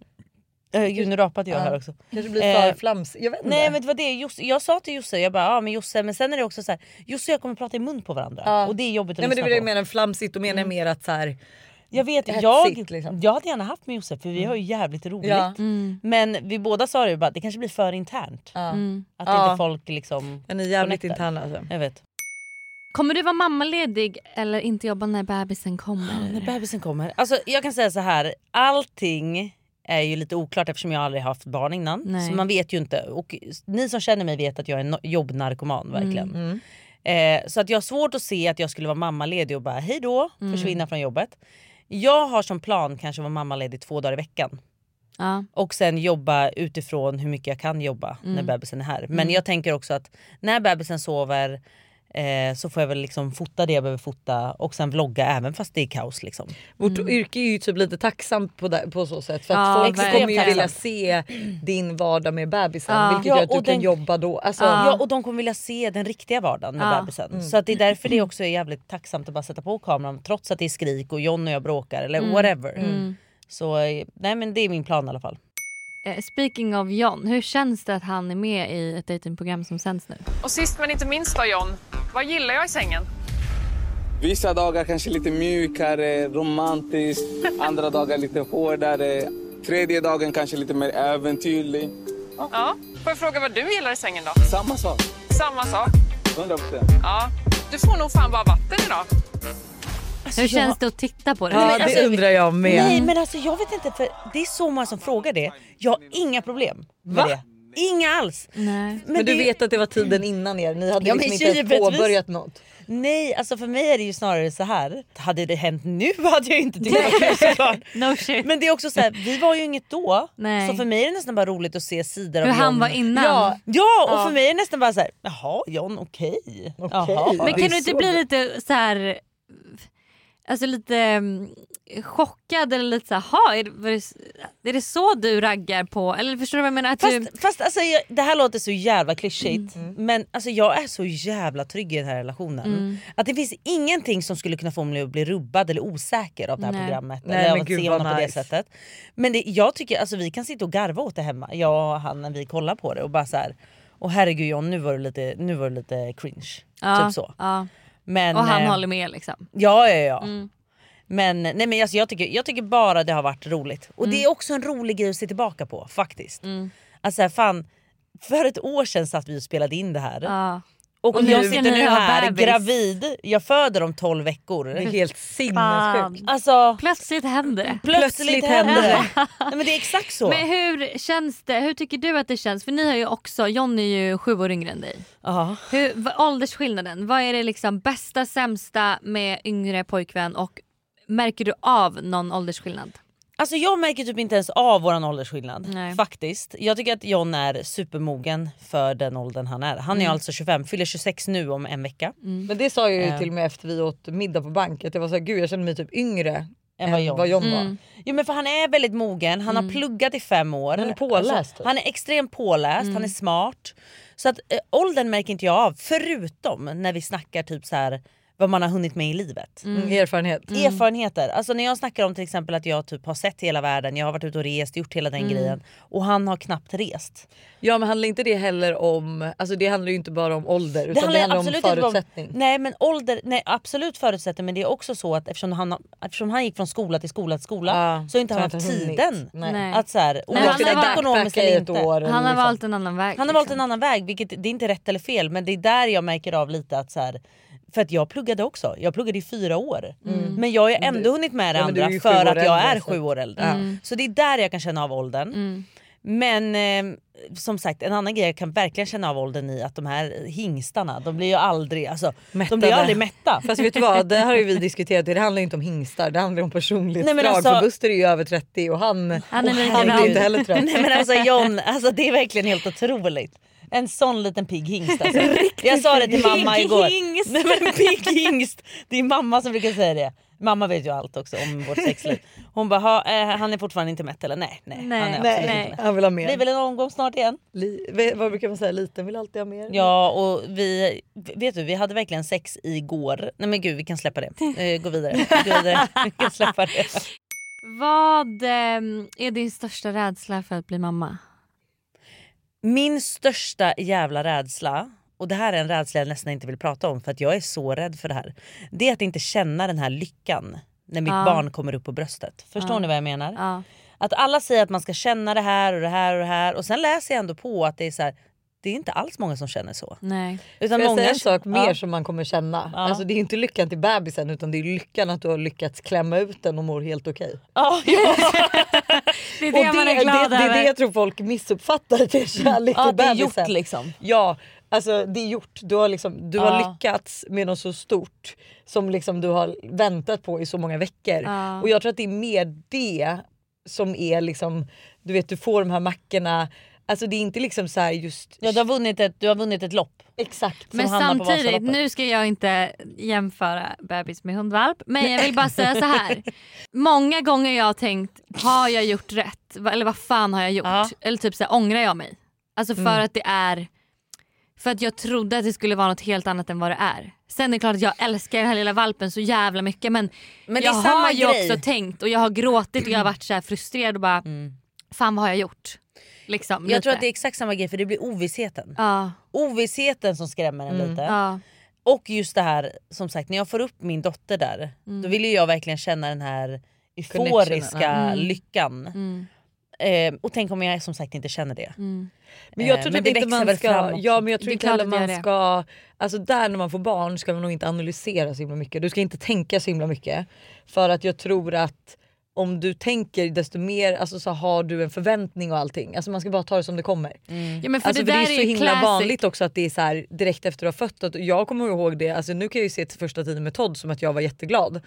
Äh, gud nu rapade jag här också. Kanske blir för Eh, flams, jag vet inte. Nej men det var det, Josse, jag sa till Josse, jag bara ja men Josse, men sen är det också så här, Josse och jag kommer prata i mun på varandra Ja. och det är jobbigt att Nej men det lyssna var det jag på. menar, flamsigt då Mm. menar jag mer att så här, Jag vet, Hetsigt, jag, jag hade gärna haft med Josef för vi har ju jävligt roligt. Ja. Men vi båda sa det ju bara, det kanske blir för internt. Mm. Att Ja. inte folk liksom... Men ni är jävligt connectar. interna alltså. Jag vet. Kommer du vara mammaledig eller inte jobba när bebisen kommer? När bebisen kommer. Alltså jag kan säga så här, allting är ju lite oklart eftersom jag aldrig haft barn innan. Nej. Så man vet ju inte. Och ni som känner mig vet att jag är en no- jobbnarkoman verkligen. Mm. Eh, så att jag har svårt att se att jag skulle vara mammaledig och bara hej då, Mm. försvinna från jobbet. Jag har som plan kanske att vara mammaledig två dagar i veckan. Ja. Och sen jobba utifrån hur mycket jag kan jobba Mm. när bebisen är här. Men Mm. jag tänker också att när bebisen sover eh, så får jag väl liksom fota det jag behöver fota och sen vlogga även fast det är kaos. Liksom. Vårt yrke är ju typ lite tacksamt på, det- på så sätt för att Ja, folk verkligen. kommer ju vilja se din vardag med bebisen Ja. vilket gör att Ja, du och kan den- jobba då. Alltså, ja och de kommer vilja se den riktiga vardagen med Ja. bebisen. Mm. Så att det är därför det också är jävligt tacksamt att bara sätta på kameran trots att det är skrik och John och jag bråkar eller Mm. whatever. Mm. Så eh, nej men det är min plan i alla fall. Eh, Speaking of John, hur känns det att han är med i ett datingprogram som sänds nu? Och sist men inte minst då John, vad gillar jag i sängen? Vissa dagar kanske lite mjukare, romantiskt. Andra dagar lite hårdare. Tredje dagen kanske lite mer äventyrlig. Ja. Får jag fråga vad du gillar i sängen då? Samma sak. Samma sak? 100 procent. Ja. Du får nog fan bara vatten idag. hur Alltså, jag- känns det att titta på det? Nej, men alltså- jag med. Nej men alltså jag vet inte för det är så många som frågar det. Jag har inga problem med Va? det. Inga alls. Nej. Men, du vet att det var tiden innan er, ni hade liksom inte ens påbörjat något. Nej, alltså för mig är det ju snarare så här. Hade det hänt nu hade jag inte tyckt att det var såklart. No shit. Men det är också så här, vi var ju inget då. Nej. Så för mig är det nästan bara roligt att se sidor Hur av han John. var innan. Ja, ja och Ja. för mig är det nästan bara så här, jaha John okej. Jaha. Men kan du inte bli lite så här... Alltså lite mm, chockad eller lite såhär, ha är, det- var det- är det så du raggar på? Eller förstår du vad jag menar? Att Fast, du, fast alltså, jag, det här låter så jävla klyschigt men alltså, jag är så jävla trygg i den här relationen. Mm. Att det finns ingenting som skulle kunna få mig att bli rubbad eller osäker av det här Nej. programmet. Nej, eller av men att gud, se vad honom på det nice. sättet. Men det, jag tycker alltså, vi kan sitta och garva åt det hemma, jag och han när vi kollar på det och bara så här. Och herregud John nu var du lite, nu var du lite cringe. Ja, typ så. ja. Men, och han eh, håller med liksom. Ja, ja, ja. Mm. Men, nej, men alltså, jag, tycker, jag tycker bara det har varit roligt. Och det är också en rolig grej att se tillbaka på faktiskt. Alltså här, fan, för ett år sedan satt vi och spelade in det här. Ja. Och, Och nu jag ska ni sitter nu ha här bebis. gravid, jag föder om 12 veckor. Det är helt sinnessjukt. Alltså, plötsligt händer det. Plötsligt händer det. Nej, men det är exakt så. Men hur känns det? Hur tycker du att det känns? För ni har ju också, John är ju sju år yngre än dig. Ja. Hur, vad, åldersskillnaden, vad är det liksom bästa sämsta med yngre pojkvän och märker du av någon åldersskillnad? Alltså jag märker typ inte ens av våran åldersskillnad Nej. faktiskt. Jag tycker att John är supermogen för den åldern han är. Han är Mm. alltså 25, fyller 26 nu om en vecka. Men det sa jag ju Eh. till och med efter vi åt middag på banket. Jag var såhär, gud jag känner mig typ yngre än vad John, Mm. var. Mm. Jo, men för han är väldigt mogen, han har pluggat i fem år. Alltså, Han är påläst, Mm. typ. han är extremt påläst, han är smart. Så att eh, åldern märker inte jag av förutom när vi snackar typ så här vad man har hunnit med i livet. Mm. Erfarenhet. Mm. Erfarenheter. Alltså när jag snackar om till exempel att jag typ har sett hela världen, jag har varit ute och rest, gjort hela den Mm. grejen och han har knappt rest. Ja men handlar inte det heller om, alltså det handlar ju inte bara om ålder utan det handlar, absolut om inte bara förutsättning. nej men ålder, nej absolut förutsättning men det är också så att eftersom han, har- eftersom han gick från skola till skola till skola Ja, så har inte så har han haft inte hunnit. tiden. Nej. Att så här, Nej, han har oavsett varit- ekonomiskt eller inte. backpackat i ett år eller Han har liksom. valt en annan väg. liksom. Han har valt en annan väg vilket det är inte rätt eller fel men det är där jag märker av lite att så här, för att jag pluggade också, jag pluggade i fyra år. Mm. Men jag har ju ändå hunnit med det Ja, men du är andra ju sju för år att jag äldre, är så- sju år äldre. Mm. Så det är där jag kan känna av åldern. Men eh, som sagt en annan grej jag kan verkligen känna av åldern i att de här hingstarna de blir ju aldrig, alltså, de blir ju aldrig mätta. Fast vet du vad, det här har ju vi diskuterat, det handlar ju inte om hingstar, det handlar om personligt Nej, men drag. alltså- För Buster är ju över 30 och han, Åh, och herregud. blir inte heller trött. Nej men alltså John, alltså, det är verkligen helt otroligt. En sån liten pigg hingst alltså. Jag sa det till mamma pigg igår. hingst. Nej, men pigg hingst! Det är mamma som brukar säga det. Mamma vet ju allt också om vårt sexliv. Hon bara, "Ha, eh, han är fortfarande inte mätt eller? Nej, nej. han, är absolut nej. inte mätt." han vill ha mer. Blir väl en omgång snart igen? Li- vad brukar man säga? Liten vill alltid ha mer. Ja och vi, vet du vi hade verkligen sex igår. Nej men gud vi kan släppa det. Eh, gå vidare. Gå vidare. Vi kan släppa det. Vad ehm, är din största rädsla för att bli mamma? Min största jävla rädsla, och det här är en rädsla jag nästan inte vill prata om för att jag är så rädd för det här. Det är att inte känna den här lyckan när mitt Ja. barn kommer upp på bröstet. Förstår Ja. ni vad jag menar? Ja. Att alla säger att man ska känna det här och det här och det här och sen läser jag ändå på att det är så här, det är inte alls många som känner så. Nej. Utan Får jag många- säga en sak mer Ja. som man kommer känna? Ja. Alltså, det är inte lyckan till bebisen utan det är lyckan att du har lyckats klämma ut den och mår helt okej. Ja, Det är Och det man är glad det, det, det över. jag tror folk missuppfattar att det är kärlek Ja, till det är bebisen. gjort liksom. Ja, alltså det är gjort. Du har, liksom, du har Ja. lyckats med något så stort som liksom du har väntat på i så många veckor. Ja. Och jag tror att det är mer det som är liksom, du vet du får de här mackorna. Alltså det är inte liksom så här just... Ja, du, har vunnit ett, du har vunnit ett lopp. Exakt. Men samtidigt, nu ska jag inte jämföra bebis med hundvalp men jag vill bara säga så här. Många gånger jag har tänkt, har jag gjort rätt? Va- Eller vad fan har jag gjort? Eller typ så här, ångrar jag mig? Alltså för Mm. att det är, för att jag trodde att det skulle vara något helt annat än vad det är. Sen är det klart att jag älskar den här lilla valpen så jävla mycket men, Men det är jag samma har ju grej. också tänkt och jag har gråtit och jag har varit så här frustrerad och bara, fan vad har jag gjort? Liksom, Mm. Jag tror att det är exakt samma grej för det blir ovissheten. Ja. Ovissheten som skrämmer en Mm. lite. Ja. Och just det här som sagt när jag får upp min dotter där då vill ju jag verkligen känna den här euforiska Connectionen, Mm. ja. Mm. Mm. lyckan. Eh, och tänk om jag som sagt inte känner det. Men jag Eh, tror typ men inte det växer man väl ska, fram också. ja, men jag Det tror är inte klart heller att det gör man det. ska, alltså där när man får barn ska man nog inte analysera så himla mycket. Du ska inte tänka så himla mycket. För att jag tror att om du tänker desto mer alltså, så har du en förväntning och allting. Alltså man ska bara ta det som det kommer. Mm. Ja, men för alltså, det där är är så ju himla classic. vanligt också att det är så här, direkt efter du har fött. Att jag kommer ihåg det, alltså, nu kan jag ju se till första tiden med Todd som att jag var jätteglad.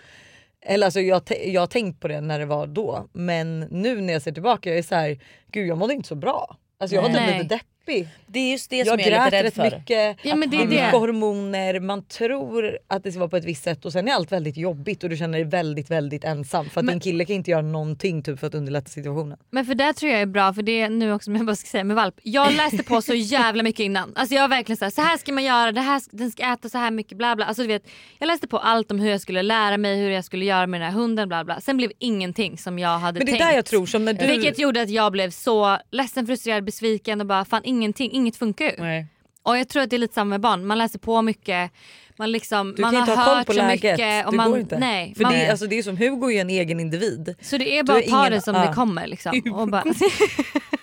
Eller alltså jag, te- jag har tänkt på det när det var då men nu när jag ser tillbaka jag är så här, gud jag mådde inte så bra. Alltså jag var typ Nej. lite deppig. Det är just det jag som jag är grät lite rädd rätt för. mycket, Ja, men att det är är mycket det. hormoner, man tror att det ska vara på ett visst sätt och sen är allt väldigt jobbigt och du känner dig väldigt väldigt ensam för att Men- din kille kan inte göra någonting typ, för att underlätta situationen. Men för det tror jag är bra, för det är nu också som jag bara ska säga med valp. Jag läste på så jävla mycket innan. Alltså jag var verkligen så här, så här ska man göra, det här, den ska äta så här mycket bla bla. Alltså du vet, jag läste på allt om hur jag skulle lära mig, hur jag skulle göra med den här hunden bla bla. Sen blev ingenting som jag hade Men det är tänkt. där jag tror som när du... Vilket gjorde att jag blev så ledsen, frustrerad, besviken och bara fan ingenting, inget funkar ju. Och jag tror att det är lite samma med barn, man läser på mycket, man, liksom, Du man kan har inte ha koll hört på så läget. mycket. Och det man, går inte. Nej, För man, det, är- alltså, det är som Hugo är ju en egen individ. så det är Du bara har att ta ingen- det som ja. det kommer. Liksom. Och bara,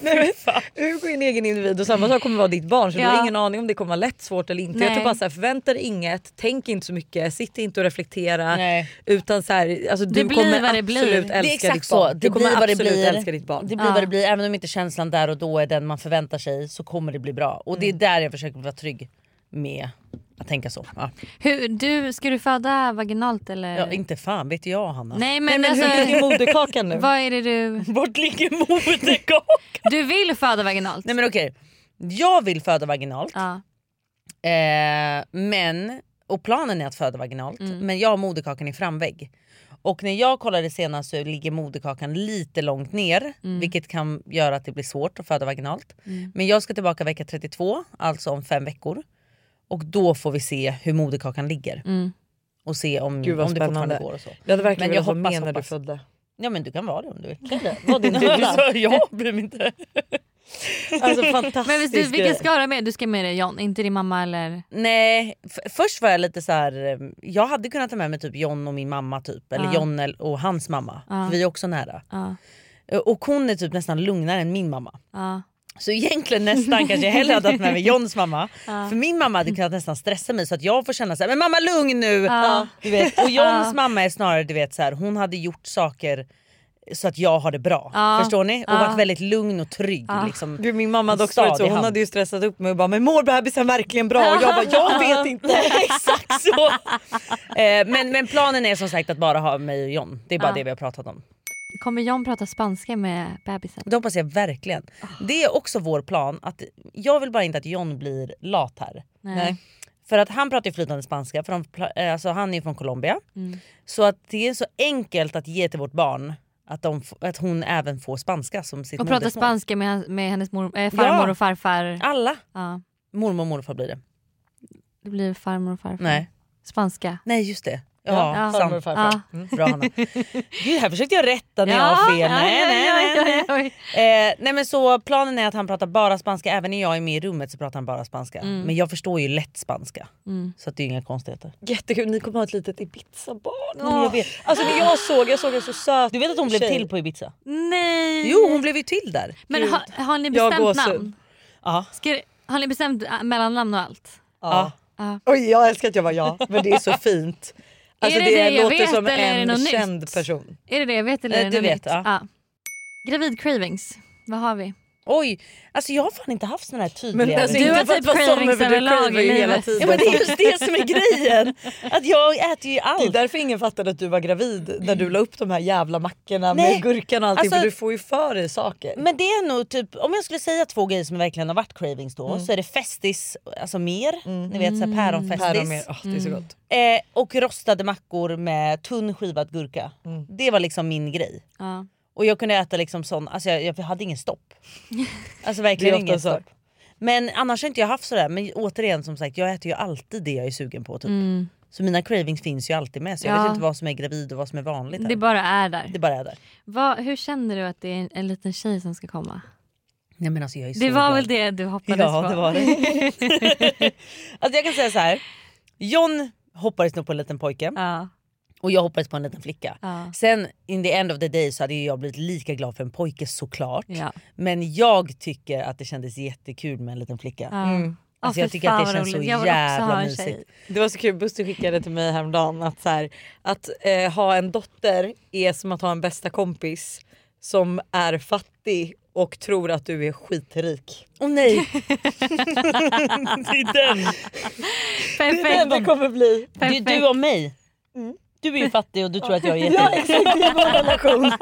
Nej, men, Hugo är en egen individ och samma sak kommer vara ditt barn så du Ja. har ingen aning om det kommer vara lätt, svårt eller inte. Jag tror Nej. bara så här, förvänta dig inget, tänk inte så mycket, sitt inte och reflektera. Nej. Utan så här, alltså, du Det blir kommer vad det absolut blir. Det älska är exakt ditt så. barn. Det du kommer blir vad det absolut blir. älska ditt barn. Det blir vad det blir. Även om inte känslan där och då är den man förväntar sig så kommer det bli bra. Och det är där jag försöker vara trygg med att tänka så. Ja. Hur, du, ska du föda vaginalt eller? Ja, inte fan vet jag Hanna. Nej men, Nej, men alltså, hur ligger moderkakan nu? Vad är det du... Vart ligger moderkakan? Du vill föda vaginalt. Nej men okej. Jag vill föda vaginalt. Eh, men, och planen är att föda vaginalt. Men jag har moderkakan i framvägg. Och när jag kollade senast så ligger moderkakan lite långt ner. Vilket kan göra att det blir svårt att föda vaginalt. Mm. Men jag ska tillbaka vecka 32, alltså om fem veckor. Och då får vi se hur moderkakan ligger. Mm. Och se om, Gud vad om det fortfarande spännande. går och så. Jag hade verkligen Men jag velat vara med hoppas, när du hoppas. födde. Ja men du kan vara det om du vill. Var din dubbla. Så jag bryr mig inte. Alltså fantastisk Men visst, du, vilka grej. ska du ha med? Du ska med dig John, inte din mamma eller? Nej, f- först var jag lite så här. eh, Jag hade kunnat ta med mig typ John och min mamma typ. Eller Ja. John el- och hans mamma. Ja. För vi är också nära. Ja. Eh, Och hon är typ nästan lugnare än min mamma. Ja. Så egentligen nästan kanske jag hellre hade haft med mig Johns mamma. Ja. För min mamma hade kunnat nästan stressa mig så att jag får känna så här, men mamma lugn nu. Ja. Du vet. Och Johns Ja. mamma är snarare du vet så här, hon hade gjort saker så att jag har det bra. Ja. Förstår ni? Och Ja. varit väldigt lugn och trygg. Liksom, Gud, min mamma hade också stadig varit så, hon hand. hade ju stressat upp mig och bara “men mår bebisen verkligen bra?” och jag bara “jag vet inte”. Exakt så. Eh, men, men planen är som sagt att bara ha mig och John. Det är bara Ja. det vi har pratat om. Kommer John prata spanska med bebisen? Det hoppas jag verkligen. Det är också vår plan. Att jag vill bara inte att John blir lat här. Nej. Nej. För att han pratar ju flytande spanska, för de, pla- eh, alltså han är ju från Colombia. Mm. Så att det är så enkelt att ge till vårt barn att, de, f- att hon även får spanska som sitt Och prata modersmål. spanska med, hans- med hennes mor, eh, farmor Ja. och farfar. Alla. Ja. Mormor och morfar blir det. Det blir farmor och farfar. Nej. Spanska. Nej just det. Ja, Ja. sant. Farmor och farfar. Ja. Mm. Bra Hanna. Gud här försökte jag rätta när jag Ja, har fel. ja, nej, ja, nej, ja, nej, ja, nej. Eh, nej men så planen är att han pratar bara spanska. Även när jag är med i rummet så pratar han bara spanska. Mm. Men jag förstår ju lätt spanska. Mm. Så att det är ju inga konstigheter. Jättekul, ni kommer ha ett litet Ibiza-barn. Ja, jag vet. Alltså när jag såg, jag såg en så söt Du vet att hon blev tjej. till på Ibiza? Nej! Jo hon blev ju till där. Men Gud. har, har ni Jag bestämt gåshud. namn? Ja. Ska, det- har ni bestämt äh, mellannamn och allt? Ja. Ja. Oj, jag älskar att jag var jag, men det är så fint. Alltså, Är det det det jag låter vet, som eller är det en något nytt? känd person. Är det det jag vet eller Eh, är det du något vet, nytt? ja. Gravid cravings, vad har vi? Oj, alltså jag har fan inte haft sådana här tydliga... Men alltså, Du inte har för att typ vara cravings sommer, för du överlag cravar ju i hela livet. tiden. Ja, men det är just det som är grejen. Att jag äter ju allt. Det är därför ingen fattade att du var gravid när du la upp de här jävla mackorna Nej. med gurkan och allting Alltså- för du får ju för dig saker. Men det är nog typ, om jag skulle säga två grejer som verkligen har varit cravings då Mm. så är det festis, alltså mer. Ni vet såhär päronfestis. Päron mer, åh, det är så Mm. gott. Eh, och rostade mackor med tunn skivad gurka. Det var liksom min grej. Ja. Och jag kunde äta liksom sån, alltså jag, jag hade ingen stopp. Alltså Det verkligen är ofta ingen så. stopp. Men annars har inte jag haft sådär, men återigen som sagt jag äter ju alltid det jag är sugen på typ. Mm. Så mina cravings finns ju alltid med så jag Ja. vet inte vad som är gravid och vad som är vanligt. här. Det bara är där. Det bara är där. Vad- hur känner du att det är en, en liten tjej som ska komma? Nej, men alltså, jag är så Det var glad. väl det du hoppades ja, på? det var det. alltså jag kan säga så här. John hoppades nog på en liten pojke. Och jag hoppades på en liten flicka. Ja. Sen in the end of the day så hade ju jag blivit lika glad för en pojke såklart. Ja. Men jag tycker att det kändes jättekul med en liten flicka. Ja. Mm. Alltså, Ja, jag fy tycker att det fan vad känns så roligt. Jag vill också ha jävla en tjej. mysigt. Det var så kul, Buster skickade till mig häromdagen att, så här, att eh, ha en dotter är som att ha en bästa kompis som är fattig och tror att du är skitrik. Åh nej! det är den! Det är Perfekt. den det kommer bli. Mm. Det är du och mig. Du är ju fattig och du tror att jag är jätterik. Ja exakt, det är vår relation.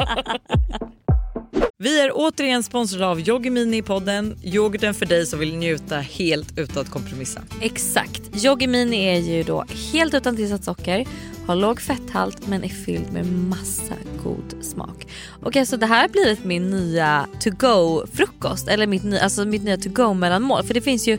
Vi är återigen sponsrade av Yoggi Mini i podden. Yoghurten för dig som vill njuta helt utan att kompromissa. Exakt. Yoggi Mini är ju då helt utan tillsatt socker, har låg fetthalt men är fylld med massa god smak. Och alltså det här har blivit min nya to-go-frukost eller mitt, ny, alltså mitt nya to-go-mellanmål för det finns ju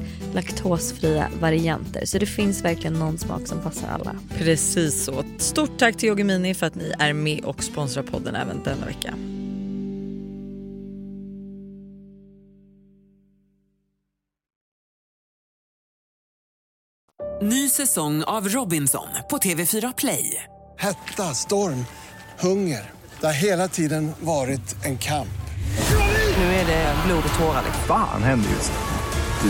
laktosfria varianter. Så det finns verkligen någon smak som passar alla. Precis så. Stort tack till Yoggi Mini för att ni är med och sponsrar podden även denna vecka. Ny säsong av Robinson på TV4 Play. Hetta, storm, hunger. Det har hela tiden varit en kamp. Nu är det blod och tårar. liksom. Fan händer just nu.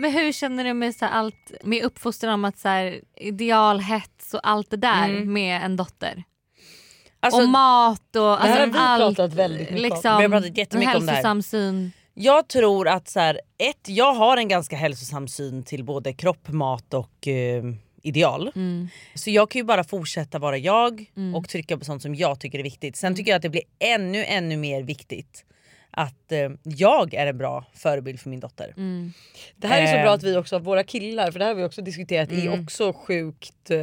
Men hur känner du med, så här, allt, med uppfostran om att så här, idealhets och allt det där Mm. med en dotter? Alltså- och mat och Det här har alltså, vi allt. pratat väldigt mycket om. liksom, Vi har pratat jättemycket om det här. hälsosam syn. Jag tror att så här, ett, jag har en ganska hälsosam syn alltså, till både kropp, mat och eh, ideal. Mm. Så jag kan ju bara fortsätta vara jag och trycka på sånt som jag tycker är viktigt. Mm. Sen tycker jag att det blir ännu, ännu mer viktigt att eh, jag är en bra förebild för min dotter. Mm. Det här är så Eh. bra att vi också, våra killar, för det här har vi också diskuterat, är Mm. också sjukt... Eh,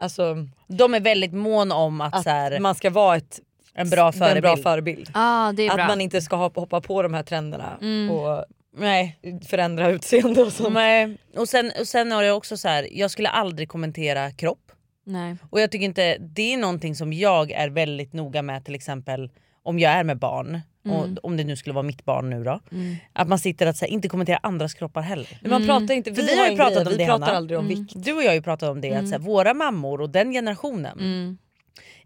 alltså, De är väldigt mån om att, att så här, man ska vara ett En bra En förebild. bra förebild. Ah, det är att bra. man inte ska hoppa, hoppa på de här trenderna Mm. och förändra utseende och sånt. Nej. Mm. Och sen, och sen har jag också så här, jag skulle aldrig kommentera kropp. Nej. Och jag tycker inte, det är någonting som jag är väldigt noga med till exempel om jag är med barn. Mm. Och, om det nu skulle vara mitt barn nu då. Mm. Att man sitter att så här, inte kommentera andras kroppar heller. Men man Mm. pratar inte- För vi vi har har ju en pratat grej, om vi det pratar Hanna. aldrig om Mm. vikt. Mm. Du och jag har ju pratat om det att så här, våra mammor och den generationen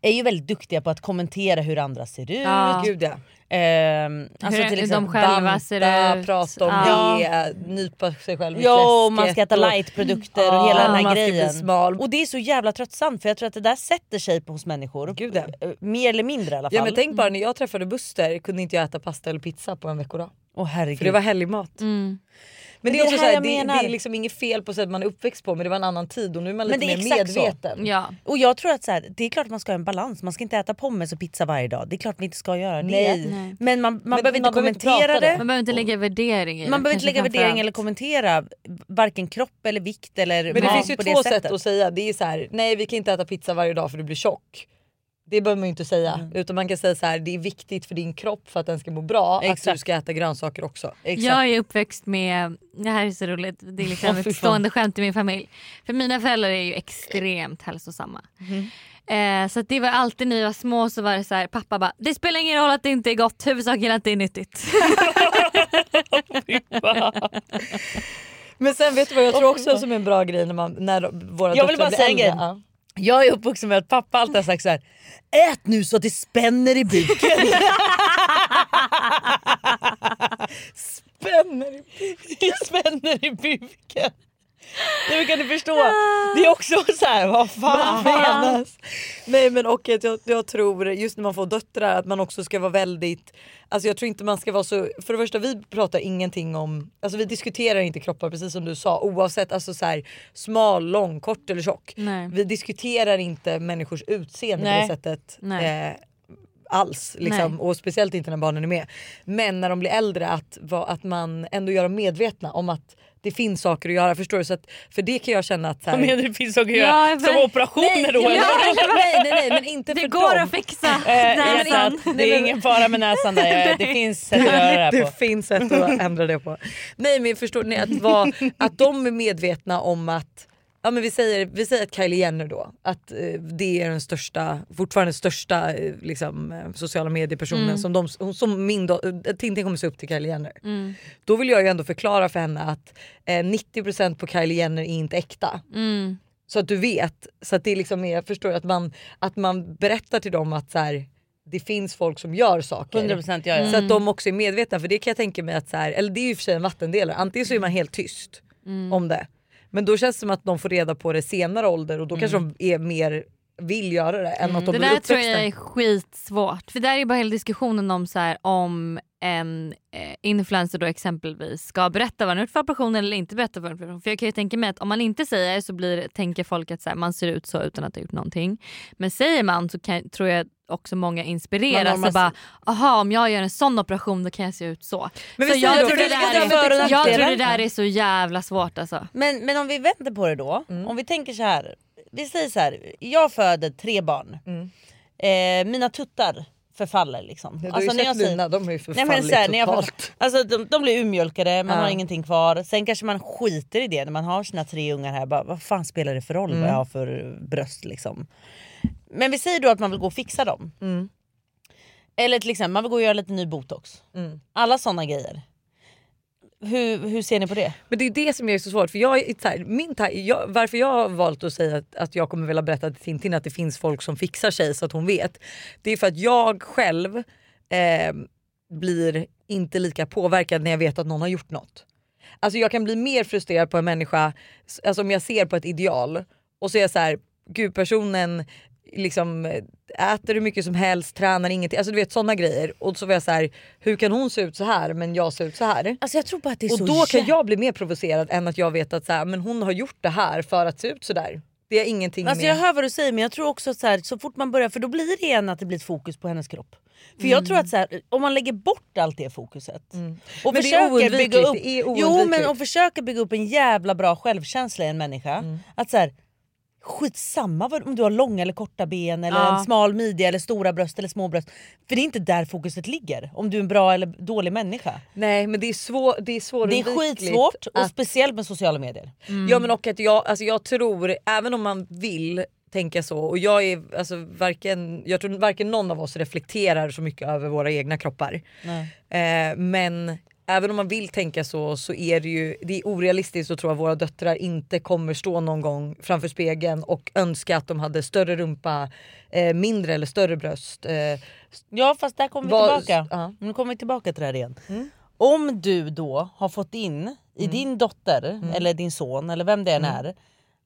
är ju väldigt duktiga på att kommentera hur andra ser ut. Ja. Gud, ja. Ehm, alltså Hur till de exempel liksom själva banta, ser ut. prata om Ja. det, nypa sig själv i Ja, och fläsket man ska äta och- lightprodukter och Ja, hela den här man ska bli grejen. smal. Och det är så jävla tröttsamt för jag tror att det där sätter sig hos människor. Eh, Mer eller mindre i alla fall. Mm. Ja men tänk bara när jag träffade Buster kunde inte jag äta pasta eller pizza på en veckodag. Åh, herregud. Mm. För det var helgmat. Men det är, det också här så här, jag det, menar. det är liksom inget fel på sätt man är uppväxt på men det var en annan tid och nu är man Men lite det är mer exakt medveten. så. Och jag tror att så här, det är klart att man ska ha en balans. Man ska inte äta pommes och pizza varje dag. Det är klart vi inte ska göra Nej. det. Nej. Men man, man Men behöver inte man behöver inte kommentera prata det. det. Man behöver inte lägga värdering i det, Man behöver inte kanske lägga värdering framförallt. eller kommentera varken kropp eller vikt eller Men det mat finns ju på två det sätt sättet. att säga. Det är så här, nej vi kan inte äta pizza varje dag för du blir tjock. Det behöver man ju inte säga. Mm. Utan man kan säga så här, det är viktigt för din kropp för att den ska må bra att du Exakt. ska äta grönsaker också. Jag är uppväxt med, det här är så roligt, det är liksom Åh, fy ett fan. stående skämt i min familj. För mina föräldrar är ju extremt hälsosamma. Mm-hmm. Eh, så att det var alltid när vi var små så var det så här, pappa bara “det spelar ingen roll att det inte är gott, huvudsaken är att det är nyttigt”. Men sen vet du vad jag tror också som är en bra grej när, man, när våra Jag vill döttrar bara blir säga en äldre. grej. Ja. Jag är uppvuxen med att pappa alltid har sagt så här. Ät nu så att det spänner i buken. spänner i buken. spänner i buken. Nej, men kan du förstå? Det är också så här, vad fan Ah. Vad fan? menas? Nej men och att jag, jag tror just när man får döttrar att man också ska vara väldigt, alltså jag tror inte man ska vara så, för det första vi pratar ingenting om, alltså vi diskuterar inte kroppar precis som du sa oavsett alltså så här, smal, lång, kort eller tjock. Nej. Vi diskuterar inte människors utseende Nej. på det sättet. Nej. Eh, alls liksom. Nej. och speciellt inte när barnen är med. Men när de blir äldre att, va- att man ändå gör dem medvetna om att det finns saker att göra förstår du? Så att, för det kan jag känna att... Så här, Vad menar du, det finns saker att göra? Ja, Som men- operationer nej, då, Ja, eller? nej, nej, nej men inte Det för går dem. att fixa Eh, jag näsan. sa att det är ingen fara med näsan där. Jag- det finns sätt att göra det här på. Det finns sätt att ändra det på. Nej men förstår ni att, vara- att de är medvetna om att Ja, men vi, säger, vi säger att Kylie Jenner då, att eh, det är den största, fortfarande den största eh, liksom, eh, sociala mediepersonen Mm. som, de, hon- som min do, eh, Tintin kommer se upp till Kylie Jenner. Mm. Då vill jag ju ändå förklara för henne att eh, 90% på Kylie Jenner är inte äkta. Mm. Så att du vet. Så att det liksom är, jag förstår att man, att man berättar till dem att så här, det finns folk som gör saker. 100% gör det. Så att Mm. de också är medvetna. För det kan jag tänka mig att, så här, eller det är ju i och för sig en vattendelare. Antingen så är man helt tyst Mm. om det. Men då känns det som att de får reda på det i senare ålder och då kanske Mm. de är mer vill göra det än att de det blir där tror jag uppväxta. är skitsvårt. För där är bara hela diskussionen om så här, om en eh, influencer då exempelvis ska berätta vad den har gjort för operation eller inte berätta vad den har gjort för operation. För jag kan ju tänka mig att om man inte säger så blir, tänker folk att så här, man ser ut så utan att ha gjort någonting. Men säger man så kan, tror jag också många Man inspireras normaliserar- och bara aha om jag gör en sån operation då kan jag se ut så. Men så vi säger jag, då, för tror det det där ligger där för och är, jag tror det nackdelar. där är så jävla svårt alltså. Men, men om vi vänder på det då. Mm. Om vi tänker så här. Vi säger så här. Jag föder tre barn. Eh, mina tuttar förfaller liksom. Mm. Du har ju sett mina, de har ju Nej, men förfallit så här, när jag får- totalt. alltså, de, de blir urmjölkade, man Ja. har ingenting kvar. Sen kanske man skiter i det när man har sina tre ungar här. Bara, vad fan spelar det för roll Mm. vad jag har för bröst liksom. Men vi säger då att man vill gå och fixa dem. Mm. Eller till exempel man vill gå och göra lite ny botox. Mm. Alla sådana grejer. Hur, hur ser ni på det? Men det är ju det som är så svårt. För jag, är så här, min, ta- jag, varför jag har valt att säga att, att jag kommer vilja berätta till Tintin att det finns folk som fixar sig så att hon vet. Det är för att jag själv eh, blir inte lika påverkad när jag vet att någon har gjort något. Alltså jag kan bli mer frustrerad på en människa, s- alltså om jag ser på ett ideal och så är jag så här, gud personen liksom eh, äter hur mycket som helst, tränar ingenting, alltså du vet sådana grejer. Och så var jag så här, hur kan hon se ut så här men jag ser ut så här? Alltså jag tror bara att det är och så då kan jä- jag bli mer provocerad än att jag vet att så här, men hon har gjort det här för att se ut så där. Det är ingenting Alltså med... jag hör vad du säger men jag tror också att så, här, så fort man börjar, för då blir det igen att det blir ett fokus på hennes kropp. För Mm. jag tror att så här, om man lägger bort allt det fokuset och Men det är försöker oundvikligt, bygga upp det är jo, men oundvikligt. Mm. och försöker bygga upp en jävla bra självkänsla i en människa. Att så här, Skitsamma vad, om du har långa eller korta ben, eller Ja. en smal midja, eller stora bröst eller små bröst. För det är inte där fokuset ligger, om du är en bra eller dålig människa. Nej men det är, svår, det är Det är svårundvikligt. skitsvårt, och att- speciellt med sociala medier. Mm. Ja men och att jag, alltså jag tror, även om man vill tänka så och jag är alltså varken, jag tror varken någon av oss reflekterar så mycket över våra egna kroppar. Nej. Eh, men även om man vill tänka så så är det ju det är orealistiskt att tro att våra döttrar inte kommer stå någon gång framför spegeln och önska att de hade större rumpa, eh, mindre eller större bröst. Eh, Ja fast där kommer vi Vad- tillbaka. Nu kommer vi tillbaka till det här igen. Mm. Om du då har fått in i din dotter Mm. eller din son eller vem det än är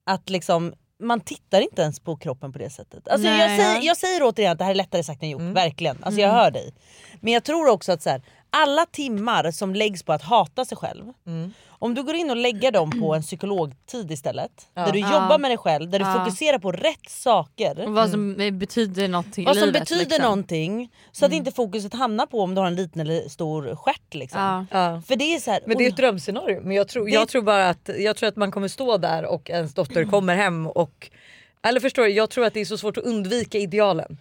att liksom man tittar inte ens på kroppen på det sättet. Alltså jag, Nej. säger, jag säger återigen att det här är lättare sagt än gjort, verkligen. Alltså jag Mm. hör dig. Men jag tror också att så här, alla timmar som läggs på att hata sig själv, Mm. om du går in och lägger dem på en psykologtid istället, Ja. där du Ja. jobbar med dig själv, där du Ja. fokuserar på rätt saker. Och vad som eh, betyder någonting Vad i som livet. liksom. Mm. betyder någonting så att inte fokuset hamnar på om du har en liten eller stor stjärt. Liksom. För det är så här, Men det är ett drömscenario. Men jag tror, jag tror bara att, jag tror att man kommer stå där och ens dotter Mm. kommer hem och... Eller förstår du, jag tror att det är så svårt att undvika idealen.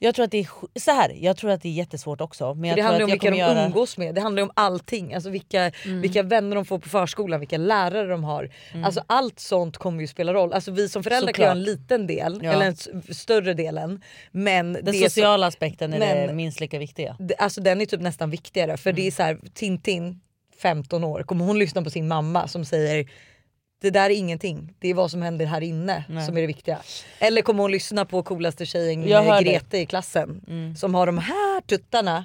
Jag tror att det är sj- så här, jag tror att det är jättesvårt också. Men För jag det tror handlar att om jag vilka de kommer göra- Mm. umgås med, det handlar om allting. Alltså vilka, vilka vänner de får på förskolan, vilka lärare de har. Alltså allt sånt kommer ju spela roll. Alltså vi som föräldrar kan göra en Såklart. liten del, Ja. eller en s- större delen. Men Den det är så- sociala aspekten är det Men- minst lika viktiga. det- alltså den är typ nästan viktigare för Mm. det är så här, Tintin 15 år, kommer hon lyssna på sin mamma som säger det där är ingenting, det är vad som händer här inne Nej. som är det viktiga. Eller kommer hon lyssna på coolaste tjejen Jag hör Mm. eh, dig. Grete i klassen som har de här tuttarna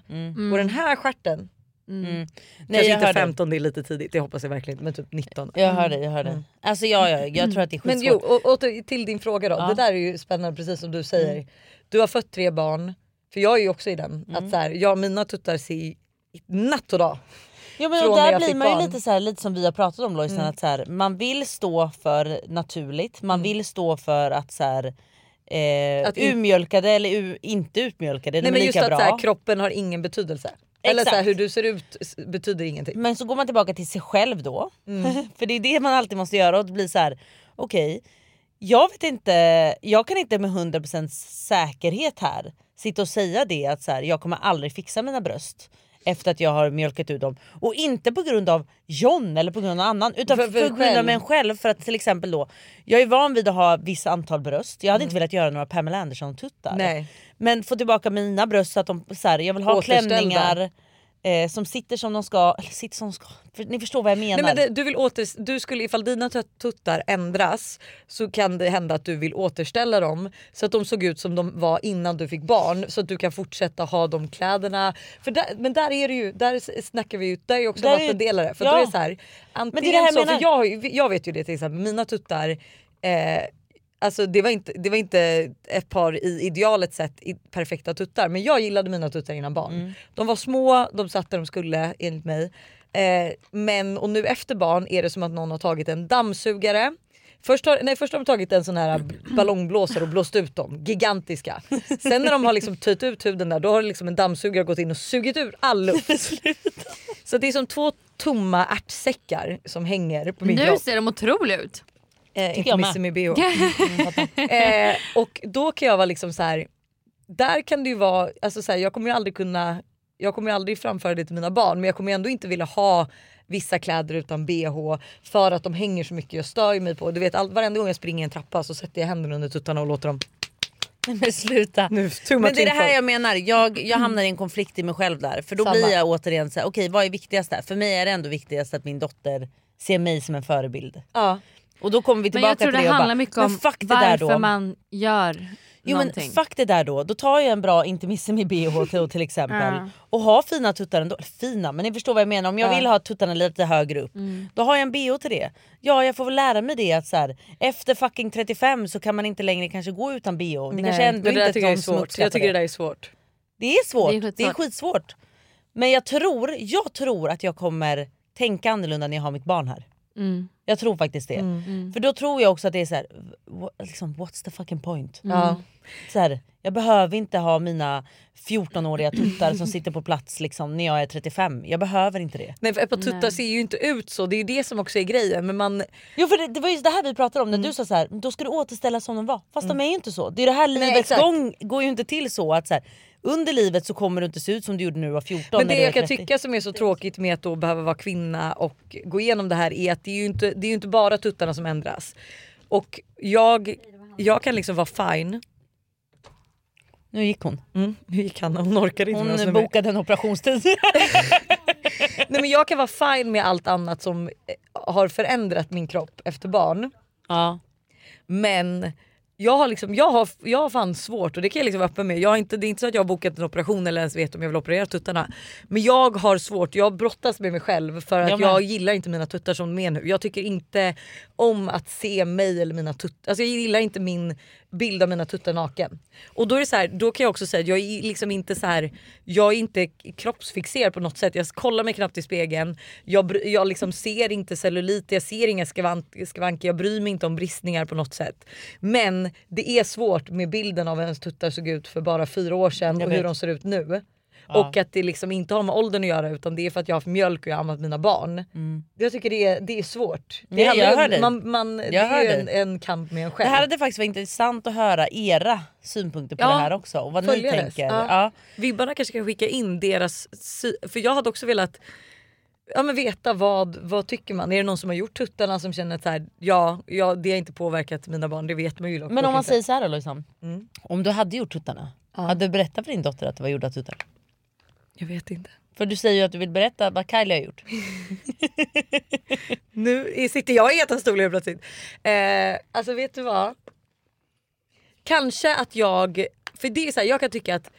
och den här stjärten. Mm. Nej, jag Kanske hör inte dig. 15, det är lite tidigt, det hoppas jag verkligen inte, men typ 19. Jag hör dig, jag hör dig. Alltså ja, ja, jag tror att det är Mm. Men skitsvårt. jo, och, och till- till din fråga då. Ja. Mm. Det där är ju spännande precis som du säger. Du har fött tre barn, för jag är ju också i den. Mm. Att så här, jag, mina tuttar ser ju natt och dag. Ja, men Från och när där jag blir fick man ju barn. lite, så här, lite som vi har pratat om Lojsan, Mm. att så här, man vill stå för naturligt, man vill stå för att så här, eh, Att in- utmjölkade eller u- inte utmjölkade, Nej, de men är just lika att bra. så här, kroppen har ingen betydelse. Eller så här, Exakt. hur du ser ut s- betyder ingenting. Men så går man tillbaka till sig själv då. Mm. För det är det man alltid måste göra och det blir så här: okej, jag vet inte, jag kan inte med 100% säkerhet här sitta och säga det att så här, jag kommer aldrig fixa mina bröst efter att jag har mjölkat ut dem. Och inte på grund av John eller på grund av någon annan utan För- för, för på grund av själv. mig själv. För att till exempel då, jag är van vid att ha vissa antal bröst. Jag hade inte velat göra några Pamela Andersson-tuttar. Mm. Nej. Men få tillbaka mina bröst så att de, så här, jag vill ha Återställda. klänningar eh, som sitter som de ska. Eller sitter som de ska. För, ni förstår vad jag menar. Nej, men det, du vill åter, du skulle, ifall dina tut- tuttar ändras så kan det hända att du vill återställa dem så att de såg ut som de var innan du fick barn så att du kan fortsätta ha de kläderna. För där, men där är det ju, där s- snackar vi ju, där är ju också Där är- vattendelare. För ja. då är det så här, det är antingen det här jag så, för menar. jag, har ju- jag vet ju det till exempel, mina tuttar eh, Alltså det var, inte, det var inte ett par i idealet sett i perfekta tuttar men jag gillade mina tuttar innan barn. Mm. De var små, de satt där de skulle enligt mig. Eh, men och nu efter barn är det som att någon har tagit en dammsugare. Först har, nej, först har de tagit en sån här ballongblåsare och blåst ut dem, gigantiska. Sen när de har liksom töjt ut huden där då har liksom en dammsugare gått in och sugit ur all luft. Så det är som två tomma ärtsäckar som hänger på min Nu kropp. ser de otroliga ut. Eh, jag inte med. Missy med Mm, bh. eh, och då kan jag vara liksom så här. där kan det ju vara, alltså så här, jag kommer ju aldrig kunna, jag kommer ju aldrig framföra det till mina barn men jag kommer ju ändå inte vilja ha vissa kläder utan bh för att de hänger så mycket jag stör ju mig på. Du vet all, varenda gång jag springer i en trappa så sätter jag händerna under tuttarna och låter dem Nej, men sluta. Nu, too Men much det är det här info. jag menar, jag, jag hamnar i en konflikt i mig själv där. För då Samma. blir jag återigen så här, okej vad är viktigast där? För mig är det ändå viktigast att min dotter ser mig som en förebild. Ja. Och då kommer vi Men jag tillbaka tror till det det och handlar bara, mycket men om fuck det där varför då. man gör Jo men någonting. fuck det där då, då tar jag en bra intimissimi i bh till, till exempel Ja. och har fina tuttar ändå. Eller Fina, men ni förstår vad jag menar. Om jag Ja. vill ha tuttarna lite högre upp Mm. då har jag en bh till det. Ja jag får väl lära mig det att så här, efter fucking 35 så kan man inte längre kanske gå utan bh. Det kanske ändå men det där inte tycker jag är någon som svårt. uppskattar Jag tycker det där är svårt. Det är svårt, Det är det är, skitsvårt. skitsvårt. Men jag tror, jag tror att jag kommer tänka annorlunda när jag har mitt barn här. Mm. Jag tror faktiskt det. Mm. Mm. För då tror jag också att det är så här, wha- liksom, what's the fucking point? Mm. Ja. Så här, jag behöver inte ha mina 14-åriga tuttar som sitter på plats liksom, när jag är 35. Jag behöver inte det. Nej för ett par tuttar Nej. ser ju inte ut så, det är ju det som också är grejen. Men man... Jo för det, det var just det här vi pratade om Mm. när du sa så här, då ska du återställa som de var. Fast de är ju inte så. Det är det här Nej, livets exakt. gång går ju inte till så att så här, under livet så kommer du inte se ut som du gjorde när du var 14. Men det när du är jag kan 30. tycka som är så tråkigt med att då behöva vara kvinna och gå igenom det här är att det är ju inte, det är ju inte bara tuttarna som ändras. Och jag, jag kan liksom vara fine. Nu gick hon. Mm, alltså, nu gick han, hon orkade inte med oss nu Hon mer. bokade en operationstid. Nej, men jag kan vara fine med allt annat som eh, har förändrat min kropp efter barn. Ja. Men jag har, liksom, jag, har, jag har fan svårt och det kan jag liksom vara öppen med. Jag har inte, det är inte så att jag har bokat en operation eller ens vet om jag vill operera tuttarna. Men jag har svårt, jag brottas med mig själv för att Jag jag, med. gillar inte mina tuttar som de är nu. Jag tycker inte om att se mig eller mina tuttar. Alltså jag gillar inte min bild av mina tuttar naken. Och då är det så här, då kan jag också säga att jag är liksom inte så här, jag är inte kroppsfixerad på något sätt. Jag kollar mig knappt i spegeln. Jag, bry- jag liksom ser inte cellulit, jag ser inga skavank- skavanker, jag bryr mig inte om bristningar på något sätt. Men det är svårt med bilden av hur ens tuttar såg ut för bara fyra år sedan Jag och vet. hur de ser ut nu. Ja. Och att det liksom inte har med åldern att göra utan det är för att jag har haft mjölk och jag har ammat mina barn. Jag tycker det är, det är svårt. Det Nej, handlar jag ju om- hör dig. man, man, Jag Det är hör ju dig. en, en kamp med en Det själv. här hade faktiskt varit intressant att höra era synpunkter på Ja, det här också. Och vad ni följares. tänker. Ja. Ja. Vibbarna kanske kan skicka in deras sy- För jag hade också velat ja, men veta vad, vad tycker man? Är det någon som har gjort tuttarna som känner att så här, ja, ja, det har inte påverkat mina barn, det vet man ju dock Men om man inte. säger så här då liksom. Lojsan. Mm. Om du hade gjort tuttarna, hade du berättat för din dotter att det var gjorda tuttar? Jag vet inte. För du säger ju att du vill berätta vad Kylie har gjort. Nu är- sitter jag i jättestolen plötsligt. Eh, alltså vet du vad? Kanske att jag, för det är så här, jag kan tycka att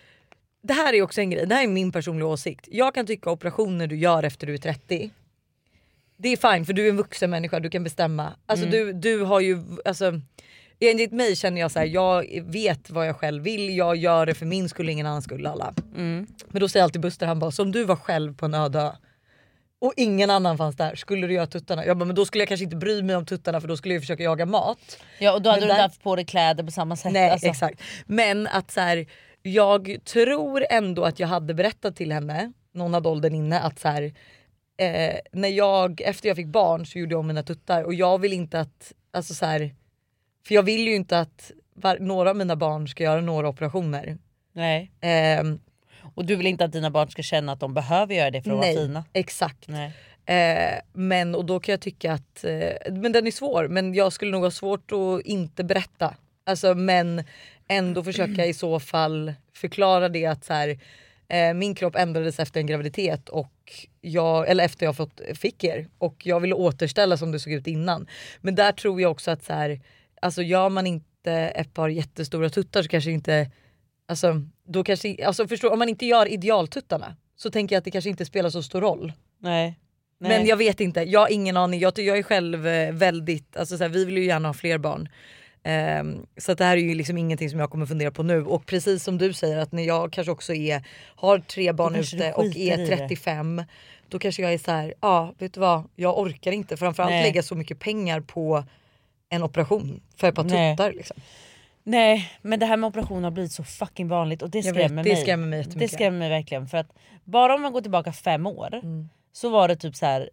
det här är också en grej, det här är min personliga åsikt. Jag kan tycka operationer du gör efter du är 30, det är fine för du är en vuxen människa, du kan bestämma. Alltså Mm. du, du har ju, alltså enligt mig känner jag så här, jag vet vad jag själv vill, jag gör det för min skull, ingen annans skull, alla. Men då säger alltid Buster, han bara som du var själv på en öde ö och ingen annan fanns där, skulle du göra tuttarna? Jag bara, men då skulle jag kanske inte bry mig om tuttarna för då skulle jag ju försöka jaga mat. Ja och då hade Men du inte där- haft på dig kläder på samma sätt. Nej alltså. exakt. Men att så här, jag tror ändå att jag hade berättat till henne, någon hade åldern inne, att så här, eh, när jag, efter jag fick barn så gjorde jag om mina tuttar och jag vill inte att, alltså så här, för jag vill ju inte att var, några av mina barn ska göra några operationer. Ehm, Nej. och du vill inte att dina barn ska känna att de behöver göra det för att Nej, vara fina. Exakt. Nej. Eh, men och då kan jag tycka att, eh, men den är svår men jag skulle nog ha svårt att inte berätta. Alltså men ändå försöka i så fall förklara det att så här, eh, min kropp ändrades efter en graviditet och jag, eller efter jag fått, fick er och jag ville återställa som det såg ut innan. Men där tror jag också att så här, alltså gör man inte ett par jättestora tuttar så kanske inte Alltså, då kanske, alltså förstår, om man inte gör idealtuttarna så tänker jag att det kanske inte spelar så stor roll. Nej. Nej. Men jag vet inte, jag har ingen aning. Jag, ty- jag är själv eh, väldigt, alltså så här, vi vill ju gärna ha fler barn. Ehm, så att det här är ju liksom ingenting som jag kommer fundera på nu. Och precis som du säger att när jag kanske också är, har tre barn kanske ute du och skiter i är det. 35 då kanske jag är så här, ja vet du vad, jag orkar inte framförallt Nej. lägga så mycket pengar på en operation för ett par Nej. tuttar. Liksom. Nej men det här med operationer har blivit så fucking vanligt och det Jag vet, skrämmer det mig. skrämmer mig det jättemycket. skrämmer mig verkligen för att bara om man går tillbaka fem år Mm. så var det typ så här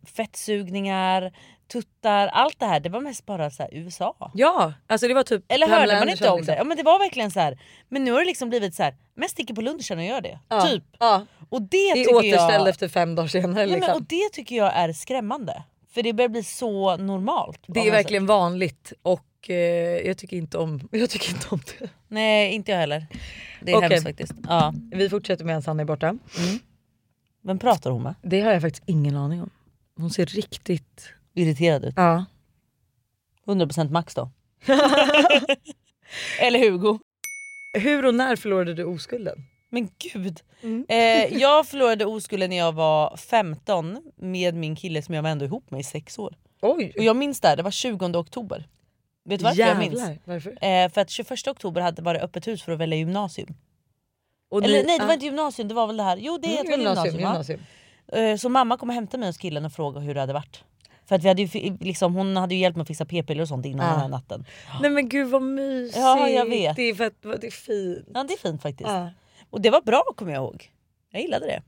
fettsugningar, tuttar, allt det här det var mest bara så här USA. Ja, alltså det var typ Eller Pamela hörde man Anderson, inte om liksom. det? Ja men det var verkligen så här. men nu har det liksom blivit så här. men sticker på lunchen och gör det. Ja, Typ. Ja. Och det, Det är tycker återställd jag... efter fem dagar senare. Nej, Liksom. men, och det tycker jag är skrämmande. För det börjar bli så normalt. det Om är man- verkligen vanligt och eh, jag, tycker inte om, jag tycker inte om det. Nej inte jag heller. Det är Okej. hemskt faktiskt. Ja. Vi fortsätter medan Hanna är borta. Vem pratar hon med? Det har jag faktiskt ingen aning om. Hon ser riktigt... Irriterad ut. Ja. 100% Max då. Eller Hugo. Hur och när förlorade du oskulden? Men gud. Mm. Eh, jag förlorade oskulden när jag var 15 med min kille som jag var ändå ihop med i sex år. Oj. Och jag minns det här, det var 20 oktober. Vet du varför jag minns? Jävlar, Varför? Eh, för att 21 oktober hade varit öppet hus för att välja gymnasium. Och Eller ni- nej det var ah. inte gymnasium, det var väl det här. Jo det Mm, heter väl gymnasium, gymnasium, va? Eh, Så mamma kom och hämtade mig hos killen och frågade hur det hade varit. För att vi hade ju, fi- liksom, hon hade ju hjälpt mig att fixa p-piller och sånt innan Ja. den här natten. Nej men gud vad mysigt. Ja, jag vet. Det är, för att, det är fint. Ja det är fint faktiskt. Ja. Och det var bra kommer jag ihåg. Jag gillade det.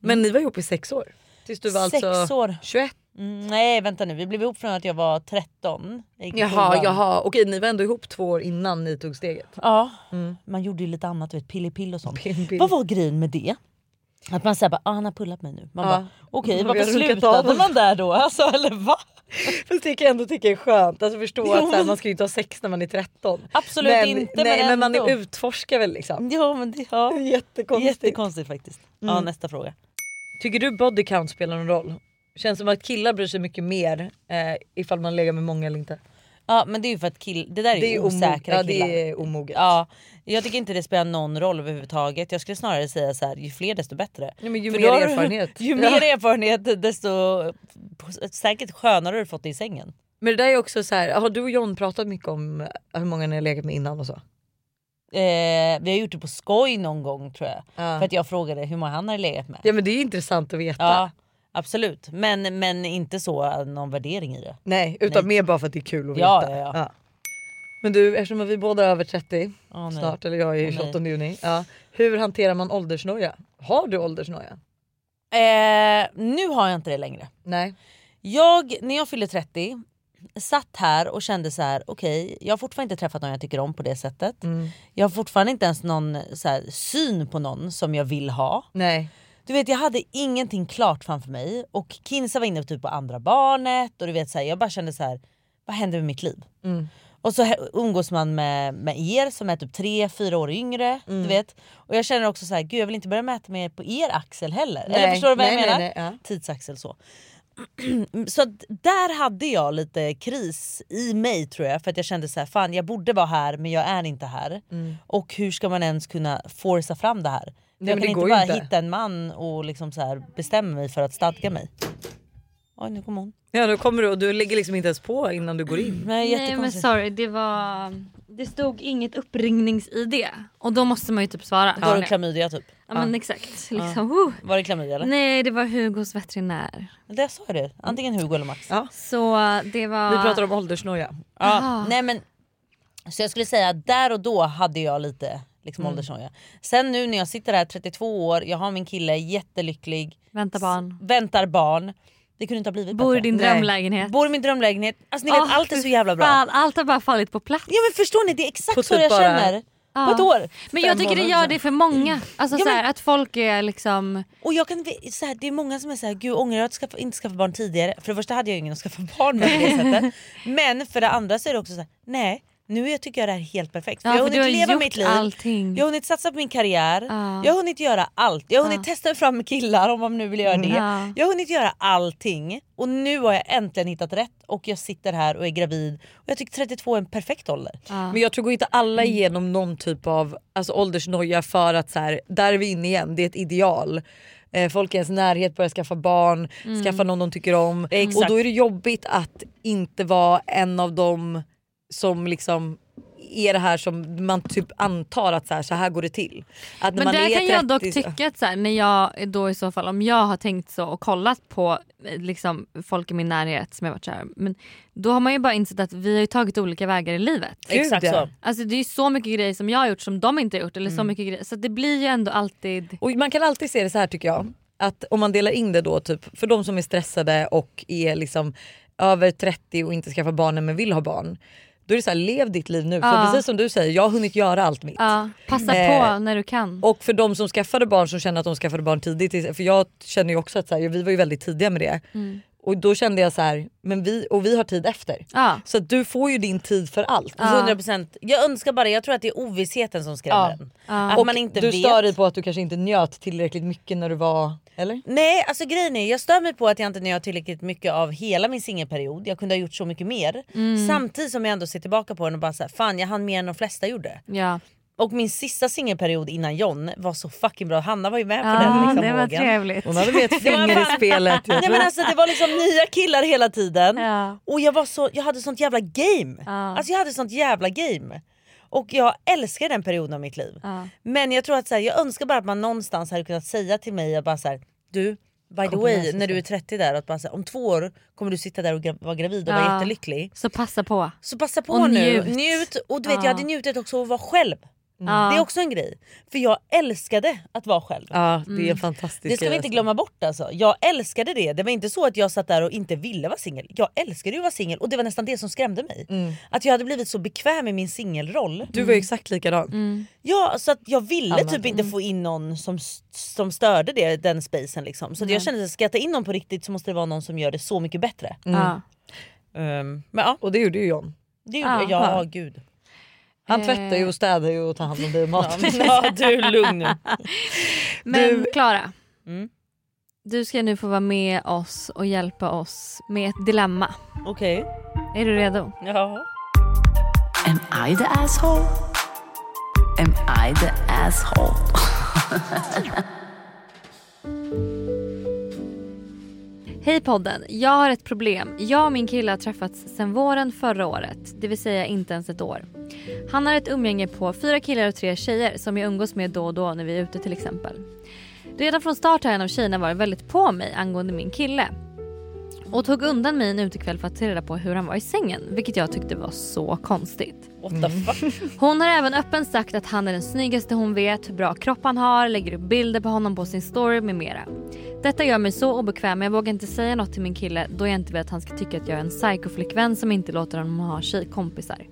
Men ni var ihop i sex år? Tills du var Sex alltså... år. 21? Mm, nej vänta nu, vi blev ihop från att jag var 13. Jag gick i Jaha, sjuan. jaha. Okej ni var ändå ihop två år innan ni tog steget. Ja, Mm. man gjorde ju lite annat, du vet, pillepill och sånt. Vad var grejen med det? Att man säger bara ah, han har pullat mig nu. Man Ja. bara okej Vi har varför runkat av slutade honom. man där då? Alltså, eller va? Fast det kan jag ändå tycka är skönt. Alltså förstå Jo, att så här, men- man ska ju inte ha sex när man är 13. Absolut men, inte, men Nej men, ändå. man utforskar väl liksom. Ja men det ja. Jättekonstigt. Jättekonstigt faktiskt. Ja Mm. nästa fråga. Tycker du body count spelar någon roll? Känns som att killar bryr sig mycket mer eh, ifall man lägger med många eller inte. Ja men det är ju för att kill, det där är, Det är ju ju omo- osäkra ja, det killar. är omoget. Ja, jag tycker inte det spelar någon roll överhuvudtaget. Jag skulle snarare säga så här, ju fler desto bättre. Ja, men ju För mer då har du- erfarenhet. Ju Ja. mer erfarenhet desto säkert skönare har du fått det i sängen. Men det där är också så här, har du och John pratat mycket om eh, hur många ni har legat med innan och så? Eh, vi har gjort det på skoj någon gång tror jag. För att jag frågade hur många han hade legat med. Ja men det är intressant att veta. Ja, absolut. Men, men inte så eh, någon värdering i det. Nej, utan Nej. mer bara för att det är kul att Ja, veta. ja, ja. Men du, eftersom vi båda är över 30 Åh, nej. snart, eller jag är Åh, ju nej. 28 juni. Ja. Hur hanterar man åldersnoja? Har du åldersnoja? Eh, nu har jag inte det längre. Nej. Jag, när jag fyllde 30, satt här och kände så här: okej, jag har fortfarande inte träffat någon jag tycker om på det sättet. Mm. Jag har fortfarande inte ens någon så här, syn på någon som jag vill ha. Nej. Du vet jag hade ingenting klart framför mig och Kinsa var inne typ på andra barnet och du vet så här, jag bara kände så här: vad händer med mitt liv? Mm. Och så he- umgås man med, med er som är typ tre, fyra år yngre. Du Mm. vet. Och jag känner också så här, gud jag vill inte börja mäta mig på er axel heller. Eller Nej, förstår du vad jag nej, menar? nej, nej, ja. Tidsaxel så. så att där hade jag lite kris i mig tror jag för att jag kände så här, fan jag borde vara här men jag är inte här. Mm. Och hur ska man ens kunna forsa fram det här? För men jag kan det inte går ju bara inte. hitta en man och liksom så här bestämma mig för att stadga mig. Oj nu kom hon. Ja då kommer du och du lägger liksom inte ens på innan du går in. Nej, Nej men sorry det var... Det stod inget uppringnings-id och då måste man ju typ svara. Var det klamydia typ? Ja, men exakt. Liksom, woo. Var det klamydia eller? Nej det var Hugos veterinär. Det sa jag det. Antingen Hugo eller Max. Så det Ah. var... Vi pratar om åldersnoja. Ja. Ah. Nej, men, så jag skulle säga att där och då hade jag lite liksom, Mm. åldersnoja. Sen nu när jag sitter här 32 år, jag har min kille, jättelycklig. Väntar barn. S- väntar barn. Det kunde inte ha blivit Bor i bättre. din Nej. drömlägenhet. Bor i min drömlägenhet. Alltså ni vet Åh, allt är så fy jävla bra. fan, allt har bara fallit på plats. Ja men förstår ni det är exakt På så typ jag bara- känner. Ja. På ett år. Men jag Fem tycker det månader gör sedan. det för många. Alltså Ja, så men- här, att folk är liksom... Och jag kan, så här, det är många som är såhär, gud ångrar jag att skaffa, inte skaffa barn tidigare? För det första hade jag ingen att skaffa barn med på det sättet. Men för det andra så är det också såhär, nej nu är- tycker jag det här är helt perfekt. Ja, jag för du har leva gjort mitt liv, allting. jag har hunnit satsa på min karriär, Ja. jag har hunnit göra allt. Jag har hunnit testa mig fram med killar om man nu vill göra det. Ja. Jag har hunnit göra allting och nu har jag äntligen hittat rätt och jag sitter här och är gravid. Och jag tycker 32 är en perfekt ålder. Men jag tror går inte alla Mm. igenom någon typ av alltså, åldersnoja för att så här, där är vi inne igen, det är ett ideal. Eh, folk i ens närhet börjar skaffa barn, Mm. skaffa någon de tycker om. Exakt. Och då är det jobbigt att inte vara en av dem som liksom är det här som man typ antar att så här, så här går det till. Att när Men man där är kan jag dock 30 tycka att så här, när jag då i så fall om jag har tänkt så och kollat på eh, liksom, folk i min närhet som jag varit så här, men då har man ju bara insett att vi har ju tagit olika vägar i livet. Gud, Exakt ja. så. Alltså det är ju så mycket grejer som jag har gjort som de inte har gjort eller så Mm. mycket grejer. Så det blir ju ändå alltid... Och man kan alltid se det så här tycker jag. Att om man delar in det då typ för de som är stressade och är liksom över 30 och inte skaffar barn men vill ha barn. Då är det så här, lev ditt liv nu. Ja. För precis som du säger, jag har hunnit göra allt mitt. Ja, passa Eh, på när du kan. Och för de som skaffade barn som känner att de skaffade barn tidigt, för jag känner ju också att så här, vi var ju väldigt tidiga med det. Mm. Och då kände jag så här, men vi, och vi har tid efter. Ja. Så att du får ju din tid för allt. Alltså, 100%. Jag önskar bara, jag tror att det är ovissheten som skrämmer en. Att och man inte du vet. stör dig på att du kanske inte njöt tillräckligt mycket när du var, eller? Nej, alltså grejen är jag stör mig på att jag inte njöt tillräckligt mycket av hela min singelperiod. Jag kunde ha gjort så mycket mer. Mm. Samtidigt som jag ändå ser tillbaka på den och bara såhär, fan jag hann mer än de flesta gjorde. Ja. Och min sista singelperiod innan John var så fucking bra. Hanna var ju med på Ja, den liksom, det var vågen. trevligt. Hon hade väl ett finger i fan- spelet. Nej, men alltså, det var liksom nya killar hela tiden. Och jag, var så, jag hade sånt jävla game. Alltså jag hade sånt jävla game. Och jag älskar den perioden av mitt liv. Men jag tror att så här, jag önskar bara att man någonstans hade kunnat säga till mig jag bara så här, du By the way, när du är 30 där, att man säger om två år kommer du sitta där och gra- vara gravid och vara Ja. jättelycklig. Så passa Mm. på. Så passa på Och nu, njut. njut. Och du vet Ja. jag hade njutit också av att vara själv. Ja. Det är också en grej. För jag älskade att vara själv. Ja, det är en Mm. fantastisk Det ska vi inte grej, glömma bort alltså. Jag älskade det. Det var inte så att jag satt där och inte ville vara singel. Jag älskade ju att vara singel och det var nästan det som skrämde mig. Att jag hade blivit så bekväm i min singelroll. Mm. Du var ju exakt likadan. Ja, så att jag ville Annan. typ inte få in någon som, som störde det, den spacen liksom. Så att jag Nej. kände att ska jag ta in någon på riktigt så måste det vara någon som gör det så mycket bättre. Mm. Ja. Ehm, men ja. Och det gjorde ju John. Det gjorde jag, ja gud. Han tvättar Eh, ju och städar ju och tar hand om dig och maten. Ja, men- ja, du, lugn nu. Men Du- Mm. Klara, du ska nu få vara med oss och hjälpa oss med ett dilemma. Okej. Är du redo? Ja. Am I the asshole? Am I the asshole? Hej podden, jag har ett problem. Jag och min kille har träffats sedan våren förra året, det vill säga inte ens ett år. Han har ett umgänge på fyra killar och tre tjejer som jag umgås med då och då när vi är ute till exempel. Redan från start har en av tjejerna varit väldigt på mig angående min kille och tog undan mig en utekväll för att ta reda på hur han var i sängen, vilket jag tyckte var så konstigt. What Mm. the fuck? Hon har även öppen sagt att han är den snyggaste hon vet, hur bra kropp han har, lägger upp bilder på honom på sin story med mera. Detta gör mig så obekväm men jag vågar inte säga något till min kille då jag inte vill att han ska tycka att jag är en psykoflickvän som inte låter honom ha tjejkompisar.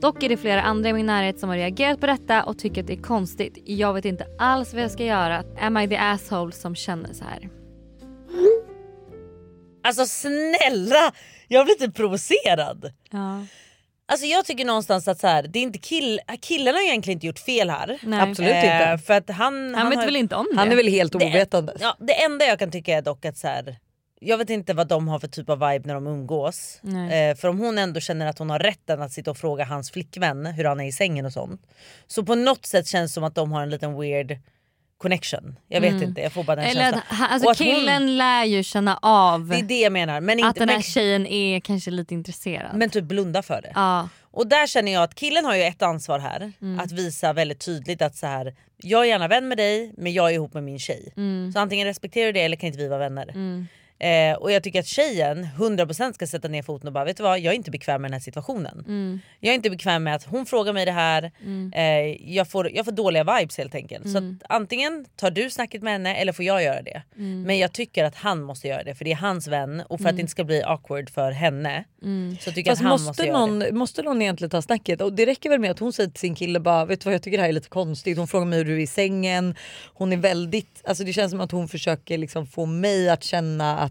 Dock är det flera andra i min närhet som har reagerat på detta och tycker att det är konstigt. Jag vet inte alls vad jag ska göra. Am I the asshole som känner så här? Alltså snälla! Jag blir typ provocerad. Ja. Alltså jag tycker någonstans att så här, det är inte kill killarna har egentligen inte gjort fel här. Eh, Nej. Absolut inte. För att han, Han vet har- väl inte om Han det. är väl helt Det- ovetande. Ja, det enda jag kan tycka är dock att så här, jag vet inte vad de har för typ av vibe när de umgås. Nej. Eh, för om hon ändå känner att hon har rätten att sitta och fråga hans flickvän hur han är i sängen och sånt. Så på något sätt känns det som att de har en liten weird connection. Jag vet Mm. inte, jag får bara den Eller känslan. att, han- Och alltså att hon- killen lär ju känna av Det är det jag menar. Men inte, att den här men- tjejen är kanske lite intresserad. Men typ blunda för det. Ja. Och där känner jag att killen har ju ett ansvar här. Mm. Att visa väldigt tydligt att så här, jag är gärna vän med dig men jag är ihop med min tjej. Mm. Så antingen respekterar du det eller kan inte vi vara vänner. Mm. Eh, och jag tycker att tjejen 100% ska sätta ner foten och bara vet du vad jag är inte bekväm med den här situationen. Mm. Jag är inte bekväm med att hon frågar mig det här. Mm. Eh, jag, får, jag får dåliga vibes helt enkelt. Så Mm. att antingen tar du snacket med henne eller får jag göra det. Mm. Men jag tycker att han måste göra det för det är hans vän och för att Mm. det inte ska bli awkward för henne Mm. så tycker jag Fast att han måste, måste, göra det. någon, måste någon egentligen ta snacket? Och det räcker väl med att hon säger till sin kille bara vet du vad jag tycker det här är lite konstigt. Hon frågar mig hur du är i sängen. Hon är väldigt, alltså det känns som att hon försöker liksom få mig att känna att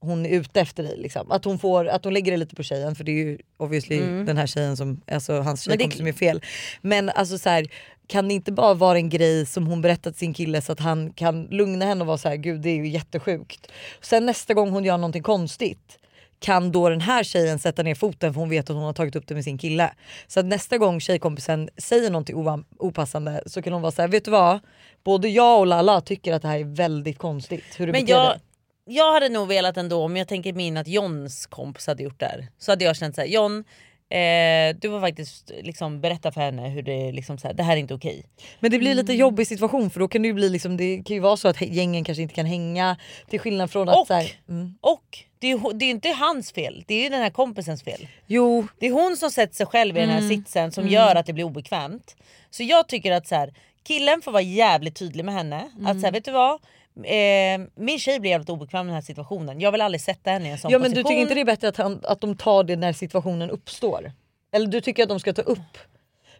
hon är ute efter dig. Liksom. Att, hon får, att hon lägger det lite på tjejen för det är ju obviously Mm. den här tjejen som, alltså hans Men det- tjejkompis som är fel. Men alltså så här, kan det inte bara vara en grej som hon berättat sin kille så att han kan lugna henne och vara så här gud det är ju jättesjukt. Sen nästa gång hon gör någonting konstigt kan då den här tjejen sätta ner foten för hon vet att hon har tagit upp det med sin kille. Så att nästa gång tjejkompisen säger någonting ovan- opassande så kan hon vara så här, vet du vad? Både jag och Lalla tycker att det här är väldigt konstigt hur du Men beter jag, dig. jag hade nog velat ändå, om jag tänker min att Johns kompis hade gjort det här. Så hade jag känt såhär, John eh, du var faktiskt liksom berätta för henne hur det är liksom så här, det här är inte okej. Men det blir lite Mm. jobbig situation för då kan det ju bli liksom, det kan ju vara så att he- gängen kanske inte kan hänga till skillnad från att Och- så här, mm. Och det är, ju- det är ju inte hans fel, det är ju den här kompisens fel. Jo. Det är hon som sätter sig själv i den här Mm. sitsen som Mm. gör att det blir obekvämt. Så jag tycker att så här, killen får vara jävligt tydlig med henne. Att Mm. så här, vet du vad? Eh, min tjej blir jävligt obekväm i den här situationen. Jag vill aldrig sätta henne i en sån Ja men position. du tycker inte det är bättre att, han, att de tar det när situationen uppstår? Eller du tycker att de ska ta upp?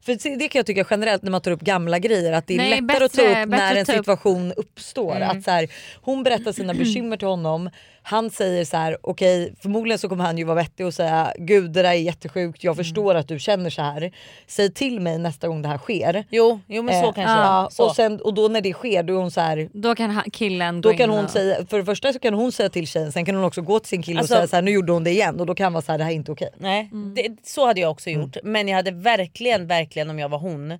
För se, det kan jag tycka generellt när man tar upp gamla grejer att det är Nej, lättare att ta bättre- upp bättre när en att ta upp. situation uppstår. Mm. Att så här, hon berättar sina bekymmer till honom, han säger så här: okej förmodligen så kommer han ju vara vettig och säga gud det där är jättesjukt, jag förstår att du känner så här. Säg till mig nästa gång det här sker. Eh, Jo, jo men så kanske. Ja, Så. ah, Och, sen, och då när det sker då är hon så här, Då kan ha- killen då gå kan in hon och... säga, för det första så kan hon säga till tjejen, sen kan hon också gå till sin kille Alltså- och säga så här, nu gjorde hon det igen och då kan han vara så här, det här är inte okej. Nej, Mm. det, så hade jag också gjort. Men jag hade verkligen, verkligen om jag var hon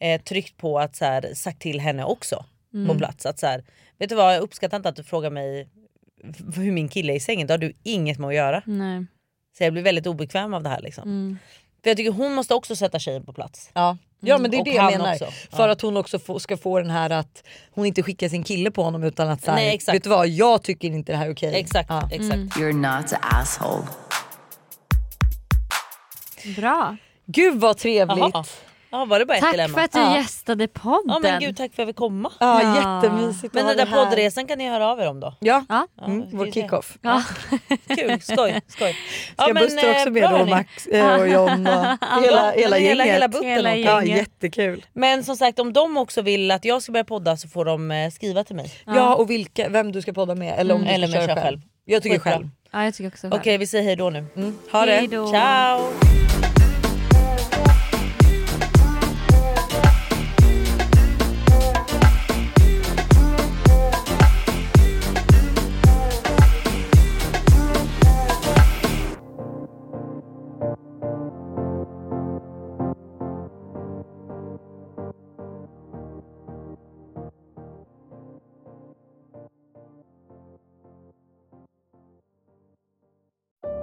eh, tryckt på att så här, sagt till henne också på Mm. plats. Att så här, vet du vad, jag uppskattar inte att du frågar mig v- hur min kille är i sängen. Det har du inget med att göra. Nej. Så jag blir väldigt obekväm av det här liksom. Mm. För jag tycker hon måste också sätta tjejen på plats. Ja. Ja men det är Mm. Och det jag han menar. också. För Ja. att hon också få, ska få den här att hon inte skickar sin kille på honom utan att såhär, Nej, exakt. vet du vad jag tycker inte det här är okej. Exakt, exakt. Mm. You're not an asshole. Bra. Gud vad trevligt. Jaha. Ja, var det bara ett Tack dilemma? för att du Ja. gästade podden. Ja men gud tack för att jag fick komma. Ja, Ja. jättemysigt att Men ha den där det här. poddresan kan ni höra av er om då. Ja, mm, vår kick-off. Ja. Kul, skoj. eh, skoj. Ska Buster också med då, Max, eh, och John och hela- hela Hela, gänget? hela butten Hela åker. Ja, gänget. jättekul. Men som sagt om de också vill att jag ska börja podda så får de eh, skriva till mig. Ja och vilka, vem du ska podda med eller om Mm. du Eller ska om jag köra kör själv. själv. Jag tycker Skitbra. själv. Ja, jag tycker också Okej vi säger hejdå nu. Ha det. Hejdå. Ciao.